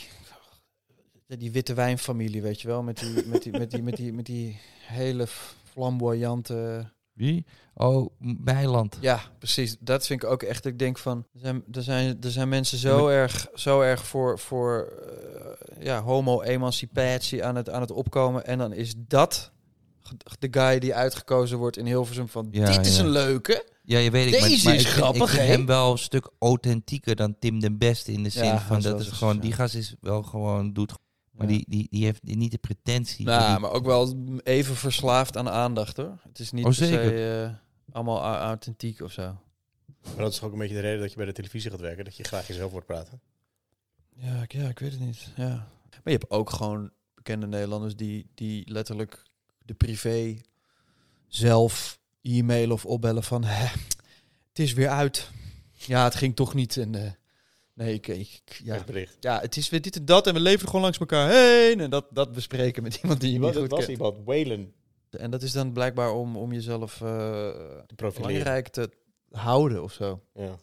[SPEAKER 2] die witte wijnfamilie, weet je wel, met die, met die, met die, met die, met die hele flamboyante...
[SPEAKER 4] Wie? Oh, M- Meiland.
[SPEAKER 2] Ja, precies. Dat vind ik ook echt, ik denk van, er zijn, er zijn, er zijn mensen zo erg, zo erg voor, voor eh, ja, homo-emancipatie aan het, aan het opkomen en dan is dat de guy die uitgekozen wordt in Hilversum van,
[SPEAKER 4] Ja,
[SPEAKER 2] dit is
[SPEAKER 4] ja.
[SPEAKER 2] een leuke.
[SPEAKER 4] Ja, je weet ik.
[SPEAKER 2] Deze
[SPEAKER 4] maar, maar
[SPEAKER 2] is
[SPEAKER 4] ik vind-
[SPEAKER 2] grappig,
[SPEAKER 4] ik vind
[SPEAKER 2] hè?
[SPEAKER 4] hem wel een stuk authentieker dan Tim den Beste in de zin
[SPEAKER 2] Ja, dat
[SPEAKER 4] van
[SPEAKER 2] is
[SPEAKER 4] dat
[SPEAKER 2] wel
[SPEAKER 4] het
[SPEAKER 2] zo,
[SPEAKER 4] gewoon...
[SPEAKER 2] ja.
[SPEAKER 4] Die gast is wel gewoon... Doet, maar
[SPEAKER 2] Ja.
[SPEAKER 4] die, die, die heeft niet de pretentie.
[SPEAKER 2] Nou,
[SPEAKER 4] die-
[SPEAKER 2] maar ook wel even verslaafd aan aandacht hoor. Het is niet
[SPEAKER 4] Oh,
[SPEAKER 2] per se
[SPEAKER 4] zeker.
[SPEAKER 2] eh, allemaal au- authentiek of zo.
[SPEAKER 3] Maar dat is toch ook een beetje de reden dat je bij de televisie gaat werken. Dat je graag jezelf wordt praten.
[SPEAKER 2] Ja, ik, ja, ik weet het niet. Ja. Maar je hebt ook gewoon bekende Nederlanders die, die letterlijk de privé zelf e-mailen of opbellen van "Hè, het is weer uit. Ja, het ging toch niet. En, eh, nee, ik, ik- ik- ja.
[SPEAKER 3] Echt bericht.
[SPEAKER 2] ja, het is weer dit en dat en we leven gewoon langs elkaar heen. En dat, dat bespreken met (laughs) iemand die je
[SPEAKER 3] Wat,
[SPEAKER 2] niet
[SPEAKER 3] dat
[SPEAKER 2] goed
[SPEAKER 3] was
[SPEAKER 2] kent.
[SPEAKER 3] iemand. Waylon.
[SPEAKER 2] En dat is dan blijkbaar om, om jezelf... eh,
[SPEAKER 3] Te profileren.
[SPEAKER 2] belangrijk te houden of zo.
[SPEAKER 3] Ja.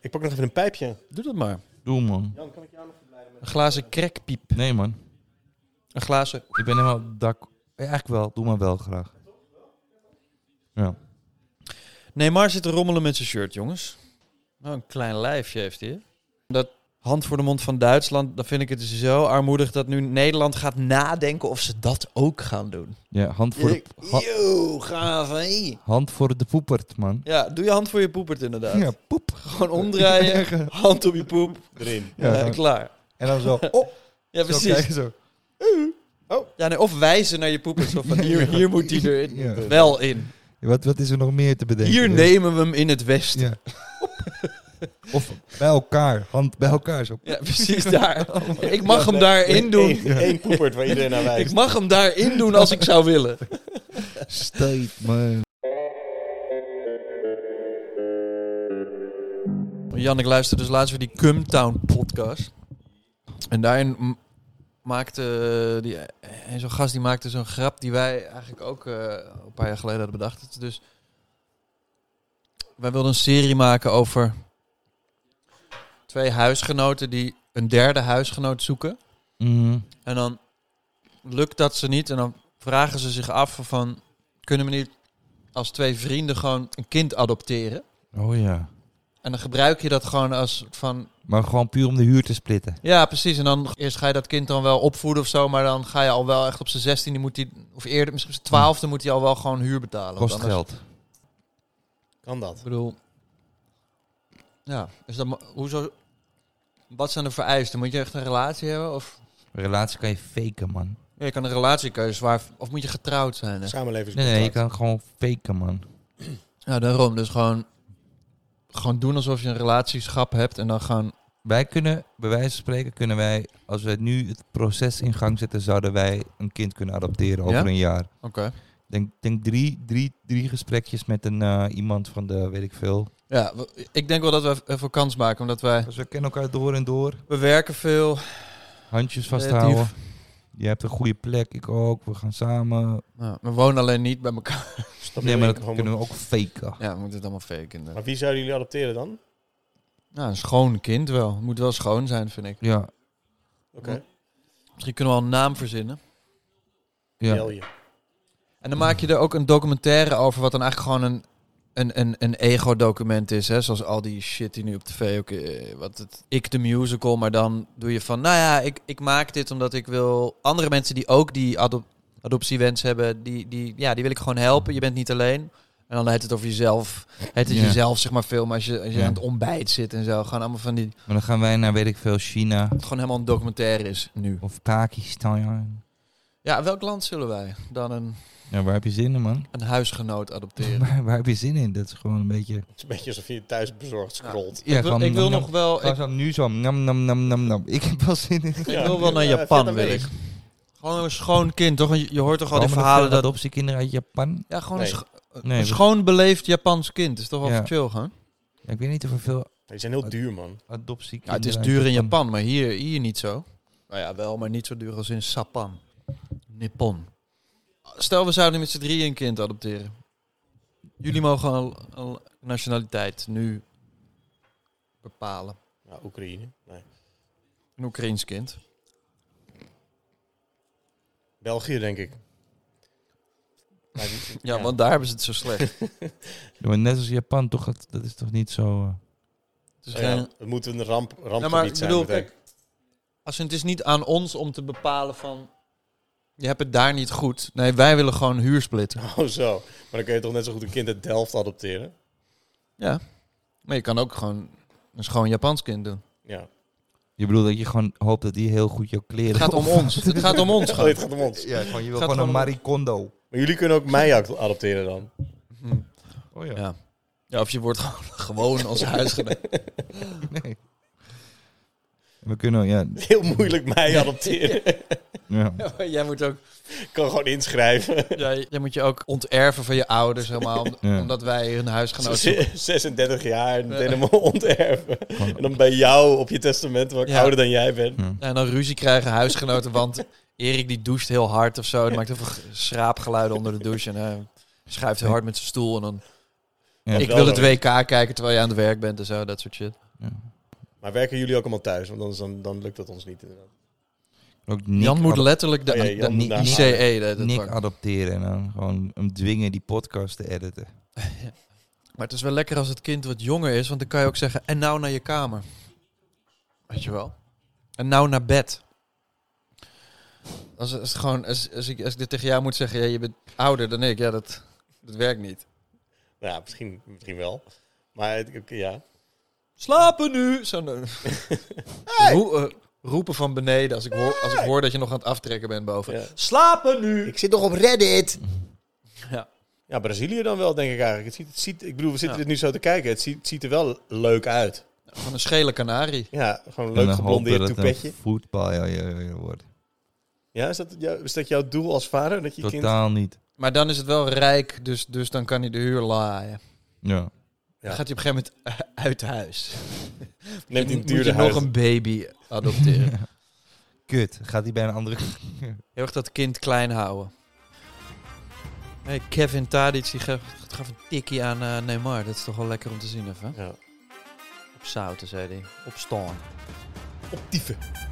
[SPEAKER 3] Ik pak nog even een pijpje.
[SPEAKER 2] Doe dat maar.
[SPEAKER 4] Doe, man.
[SPEAKER 3] Jan, kan ik jou nog verblijden met...
[SPEAKER 2] Een glazen krekpiep.
[SPEAKER 4] Nee, man.
[SPEAKER 2] Een glazen...
[SPEAKER 4] Ik ben helemaal dak. Ja, eigenlijk wel, doe maar wel graag. Ja.
[SPEAKER 2] Neymar zit te rommelen met zijn shirt, jongens. Nou, een klein lijfje heeft hij. hè? Dat hand voor de mond van Duitsland, dan vind ik het dus zo armoedig dat nu Nederland gaat nadenken of ze dat ook gaan doen.
[SPEAKER 4] ja, hand voor de, ha-
[SPEAKER 2] Yo, gaaf, hé.
[SPEAKER 4] hand voor de poepert, man.
[SPEAKER 2] Ja, doe je hand voor je poepert inderdaad.
[SPEAKER 4] Ja, poep.
[SPEAKER 2] Gewoon
[SPEAKER 4] (laughs)
[SPEAKER 2] omdraaien, hand op je poep,
[SPEAKER 3] Erin.
[SPEAKER 4] Ja,
[SPEAKER 2] eh,
[SPEAKER 4] dan-
[SPEAKER 2] klaar.
[SPEAKER 4] En dan zo. (laughs) Oh,
[SPEAKER 2] Ja,
[SPEAKER 4] zo
[SPEAKER 2] precies.
[SPEAKER 4] kijken, zo.
[SPEAKER 2] Ja, nee, of wijzen naar je poepert, zo van
[SPEAKER 4] (laughs)
[SPEAKER 2] hier, hier moet hij er in-
[SPEAKER 4] Ja.
[SPEAKER 2] wel in.
[SPEAKER 4] Wat, wat is er nog meer te bedenken?
[SPEAKER 2] Hier nemen we hem in het westen.
[SPEAKER 4] Ja. Of bij elkaar, hand bij elkaar zo.
[SPEAKER 2] Ja, precies
[SPEAKER 4] (laughs)
[SPEAKER 2] daar.
[SPEAKER 4] Oh
[SPEAKER 2] Ik mag hem daarin doen.
[SPEAKER 3] Eén poepert waar iedereen (laughs) naar
[SPEAKER 2] Ik
[SPEAKER 3] wijst.
[SPEAKER 2] mag hem daarin doen als ik zou willen.
[SPEAKER 4] Steed, man.
[SPEAKER 2] Jan, ik luisterde dus laatst weer die Cumtown podcast. En daarin m- maakte eh, die, eh, zo'n gast die maakte zo'n grap die wij eigenlijk ook eh, een paar jaar geleden hadden bedacht. Het is Dus wij wilden een serie maken over twee huisgenoten die een derde huisgenoot zoeken.
[SPEAKER 4] Mhm.
[SPEAKER 2] En dan lukt dat ze niet. En dan vragen ze zich af van... Kunnen we niet als twee vrienden gewoon een kind adopteren?
[SPEAKER 4] Oh ja.
[SPEAKER 2] En dan gebruik je dat gewoon als van...
[SPEAKER 4] Maar gewoon puur om de huur te splitten.
[SPEAKER 2] Ja, precies. En dan eerst ga je dat kind dan wel opvoeden of zo. Maar dan ga je al wel echt op zijn zestiende moet hij... Of eerder, misschien op zijn twaalfde moet hij al wel gewoon huur betalen. want
[SPEAKER 4] Kost
[SPEAKER 2] anders-
[SPEAKER 4] geld.
[SPEAKER 3] Kan dat?
[SPEAKER 2] Ik bedoel... Ja, is dat... ma- Hoezo... Wat zijn de vereisten? Moet je echt een relatie hebben? Of...
[SPEAKER 4] Een relatie kan je faken, man.
[SPEAKER 2] Ja, je kan een relatiekeuze zwaar... Of moet je getrouwd zijn? hè?
[SPEAKER 4] Nee,
[SPEAKER 3] Samenlevingscontract.
[SPEAKER 4] nee, je kan gewoon faken, man.
[SPEAKER 2] Ja, daarom. Dus gewoon, gewoon doen alsof je een relatieschap hebt en dan gaan...
[SPEAKER 4] Wij kunnen, bij wijze van spreken, kunnen wij, als we nu het proces in gang zetten, zouden wij een kind kunnen adopteren over
[SPEAKER 2] Ja?
[SPEAKER 4] een jaar.
[SPEAKER 2] Oké.
[SPEAKER 4] Ik denk, denk drie, drie, drie gesprekjes met een, eh, iemand van de, weet ik veel.
[SPEAKER 2] Ja, we- ik denk wel dat we even kans maken, omdat wij...
[SPEAKER 4] (laughs) Dus we kennen elkaar door en door.
[SPEAKER 2] We werken veel.
[SPEAKER 4] Handjes
[SPEAKER 2] Creatief.
[SPEAKER 4] vasthouden. Je hebt een goede plek, ik ook. We gaan samen.
[SPEAKER 2] Nou, we wonen alleen niet bij elkaar. (laughs)
[SPEAKER 3] Stop
[SPEAKER 4] Nee,
[SPEAKER 3] je
[SPEAKER 4] maar
[SPEAKER 3] in-
[SPEAKER 4] dat
[SPEAKER 3] gewoon-
[SPEAKER 4] kunnen we ook faken.
[SPEAKER 2] Ja, we moeten het allemaal faken.
[SPEAKER 3] Maar
[SPEAKER 2] inderdaad.
[SPEAKER 3] wie zouden jullie adopteren dan? Oké.
[SPEAKER 2] Nou, een schoon kind wel. Het Moet wel schoon zijn, vind ik.
[SPEAKER 4] Ja,
[SPEAKER 2] Misschien kunnen we al een naam verzinnen.
[SPEAKER 4] ja.
[SPEAKER 3] België.
[SPEAKER 2] En dan maak je er ook een documentaire over, wat dan eigenlijk gewoon een, een, een, een ego-document is. Hè? Zoals al die shit die nu op tv ook. eh, wat het, ik de musical, maar dan doe je van. Nou ja, ik, ik maak dit omdat ik wil. Andere mensen die ook die adop, adoptiewens hebben, die, die, ja, die wil ik gewoon helpen. Je bent niet alleen. En dan heet het over jezelf. Heet het
[SPEAKER 4] Ja.
[SPEAKER 2] jezelf, zeg maar, veel. Maar als je, als je
[SPEAKER 4] Ja.
[SPEAKER 2] aan het ontbijt zit en zo. Gewoon allemaal van die.
[SPEAKER 4] Maar dan gaan wij naar, weet ik veel, China
[SPEAKER 2] Het gewoon helemaal een documentaire is nu.
[SPEAKER 4] of Pakistan.
[SPEAKER 2] Ja, welk land zullen wij dan een,
[SPEAKER 4] Ja, waar heb je zin in, man?
[SPEAKER 2] een huisgenoot adopteren?
[SPEAKER 4] (laughs) Waar, waar heb je zin in? Dat is gewoon een beetje...
[SPEAKER 3] Het is een beetje alsof je thuis bezorgd scrolt.
[SPEAKER 4] Ja,
[SPEAKER 2] ik wil,
[SPEAKER 4] gewoon
[SPEAKER 2] ik wil
[SPEAKER 4] nam, nam.
[SPEAKER 2] nog wel.
[SPEAKER 4] Gewoon zo, nu zo, nam, nam, nam, nam, nam. Ik heb wel
[SPEAKER 2] (laughs)
[SPEAKER 4] zin in...
[SPEAKER 2] Ik wil wel naar Japan, wil ik. Gewoon een schoon kind, toch? Je je hoort toch al die
[SPEAKER 4] Komen er
[SPEAKER 2] verhalen
[SPEAKER 4] veel
[SPEAKER 2] dat...
[SPEAKER 4] adoptiekinderen uit Japan.
[SPEAKER 2] Ja, gewoon
[SPEAKER 3] Nee.
[SPEAKER 2] een, scho- een
[SPEAKER 4] Nee, we-
[SPEAKER 2] schoon beleefd Japans kind. Is toch wel
[SPEAKER 4] Ja.
[SPEAKER 2] chill, gewoon?
[SPEAKER 4] Ja, ik weet niet of er veel
[SPEAKER 3] Die zijn heel duur, man.
[SPEAKER 2] Ja, het
[SPEAKER 4] adoptiekinderen
[SPEAKER 2] is
[SPEAKER 4] uit
[SPEAKER 2] duur in Japan, maar hier, hier niet zo. Nou ja, wel, maar niet zo duur als in Sapan. Nippon. Stel, we zouden met z'n drieën een kind adopteren. Jullie mogen al, al nationaliteit nu bepalen.
[SPEAKER 3] Nou, Oekraïne. Nee.
[SPEAKER 2] Een Oekraïns kind.
[SPEAKER 3] België, denk ik. Maar die-
[SPEAKER 2] Ja, want daar hebben ze het zo slecht.
[SPEAKER 4] Ja, maar net als Japan, toch, dat, dat is toch niet zo... eh,
[SPEAKER 2] Dus
[SPEAKER 3] Oh ja,
[SPEAKER 2] geen-
[SPEAKER 3] het moet een ramp, rampgebied
[SPEAKER 2] Ja, maar ik
[SPEAKER 3] zijn.
[SPEAKER 2] bedoel,
[SPEAKER 3] meteen.
[SPEAKER 2] kijk, als in- het is niet aan ons om te bepalen van... Je hebt het daar niet goed. Nee, wij willen gewoon huursplitten.
[SPEAKER 3] Oh, zo. Maar dan kun je toch net zo goed een kind uit Delft adopteren?
[SPEAKER 2] Ja. Maar je kan ook gewoon een schoon Japans kind doen.
[SPEAKER 3] Ja.
[SPEAKER 4] Je bedoelt dat je gewoon hoopt dat die heel goed jouw kleren...
[SPEAKER 2] Het gaat om ons. Het gaat om ons
[SPEAKER 3] Oh,
[SPEAKER 2] gewoon.
[SPEAKER 3] dit gaat om ons.
[SPEAKER 4] Ja, gewoon, je wil
[SPEAKER 2] Gaat
[SPEAKER 4] gewoon
[SPEAKER 2] gewoon
[SPEAKER 4] een
[SPEAKER 2] om-
[SPEAKER 4] maricondo.
[SPEAKER 3] Maar jullie kunnen ook mij ad- adopteren dan.
[SPEAKER 4] Oh
[SPEAKER 2] Ja. ja. Of je wordt gewoon- (laughs) gewoon als huisgenoot.
[SPEAKER 4] (laughs) Nee. We kunnen, ja.
[SPEAKER 3] Heel moeilijk mij adopteren.
[SPEAKER 4] ja.
[SPEAKER 2] (laughs) Ja, maar jij moet ook...
[SPEAKER 3] Ik kan gewoon inschrijven.
[SPEAKER 2] Jij, jij moet je ook onterven van je ouders helemaal. om-
[SPEAKER 4] Ja.
[SPEAKER 2] Omdat wij een huisgenoot zijn.
[SPEAKER 3] Zes- 36 jaar en meteen helemaal onterven.
[SPEAKER 4] Gewoon-
[SPEAKER 3] En dan bij jou op je testament, waar ik
[SPEAKER 2] Ja. Hm.
[SPEAKER 3] ouder dan jij ben.
[SPEAKER 2] Ja, en dan ruzie krijgen huisgenoten, want Erik die doucht heel hard of zo. Die maakt heel veel schraapgeluiden onder de douche. En hij schuift heel hard met zijn stoel. En dan,
[SPEAKER 4] Ja.
[SPEAKER 2] ik
[SPEAKER 3] wel
[SPEAKER 2] wil het
[SPEAKER 3] leuk.
[SPEAKER 2] WK kijken terwijl je aan het werk bent en zo, dat soort shit.
[SPEAKER 3] Maar werken jullie ook allemaal thuis? Want anders dan, dan lukt dat ons niet. inderdaad.
[SPEAKER 4] Ook Nick
[SPEAKER 2] Jan moet
[SPEAKER 4] adop-
[SPEAKER 2] letterlijk de,
[SPEAKER 3] Oh ja, Jan
[SPEAKER 2] de
[SPEAKER 3] moet naar
[SPEAKER 2] ICE. de- dat
[SPEAKER 4] Nick
[SPEAKER 2] pakken.
[SPEAKER 4] adopteren en dan gewoon hem dwingen die podcast te editen.
[SPEAKER 2] maar het is wel lekker als het kind wat jonger is, want dan kan je ook zeggen, en nou naar je kamer. Weet je wel? En nou naar bed. Als, als, het gewoon, als, als, ik, als ik dit tegen jou moet zeggen, ja, je bent ouder dan ik, ja, dat, dat werkt niet.
[SPEAKER 3] Nou, ja, misschien, misschien wel. Maar het- ik- ja.
[SPEAKER 2] Slapen nu! Zo'n eh, roe- eh, roepen van beneden als ik, hoor, als ik hoor dat je nog aan het aftrekken bent boven.
[SPEAKER 3] Ja.
[SPEAKER 2] Slapen nu!
[SPEAKER 3] Ik zit nog op Reddit.
[SPEAKER 2] Ja.
[SPEAKER 3] Ja, Brazilië dan wel, denk ik eigenlijk. Het ziet, het ziet, ik bedoel, we zitten
[SPEAKER 2] Ja.
[SPEAKER 3] dit nu zo te kijken. Het ziet, het ziet er wel leuk uit.
[SPEAKER 2] Van een schele kanarie.
[SPEAKER 3] Ja, gewoon een
[SPEAKER 4] En
[SPEAKER 3] leuk
[SPEAKER 4] dan hopen
[SPEAKER 3] geblondeerd
[SPEAKER 4] dat het een
[SPEAKER 3] toepetje.
[SPEAKER 4] voetbal ja, ja, ja, ja, wordt.
[SPEAKER 3] Ja, is dat, jou, is dat jouw doel als vader? Dat je kind...
[SPEAKER 4] Totaal niet.
[SPEAKER 2] Maar dan is het wel rijk, dus, dus dan kan hij de huur laaien.
[SPEAKER 4] Ja.
[SPEAKER 3] Ja.
[SPEAKER 2] Dan gaat hij op een gegeven moment eh, uit huis.
[SPEAKER 3] Neemt in
[SPEAKER 2] Moet je
[SPEAKER 3] duurde huis.
[SPEAKER 2] nog een baby adopteren. (laughs)
[SPEAKER 4] Kut, gaat die bij een andere...
[SPEAKER 2] Heel erg dat kind klein houden. Hey, Kevin Tadic die gaf, gaf een tikkie aan eh, Neymar. Dat is toch wel lekker om te zien even.
[SPEAKER 3] Ja.
[SPEAKER 2] Op zouten, zei hij. Op staan.
[SPEAKER 3] optieven.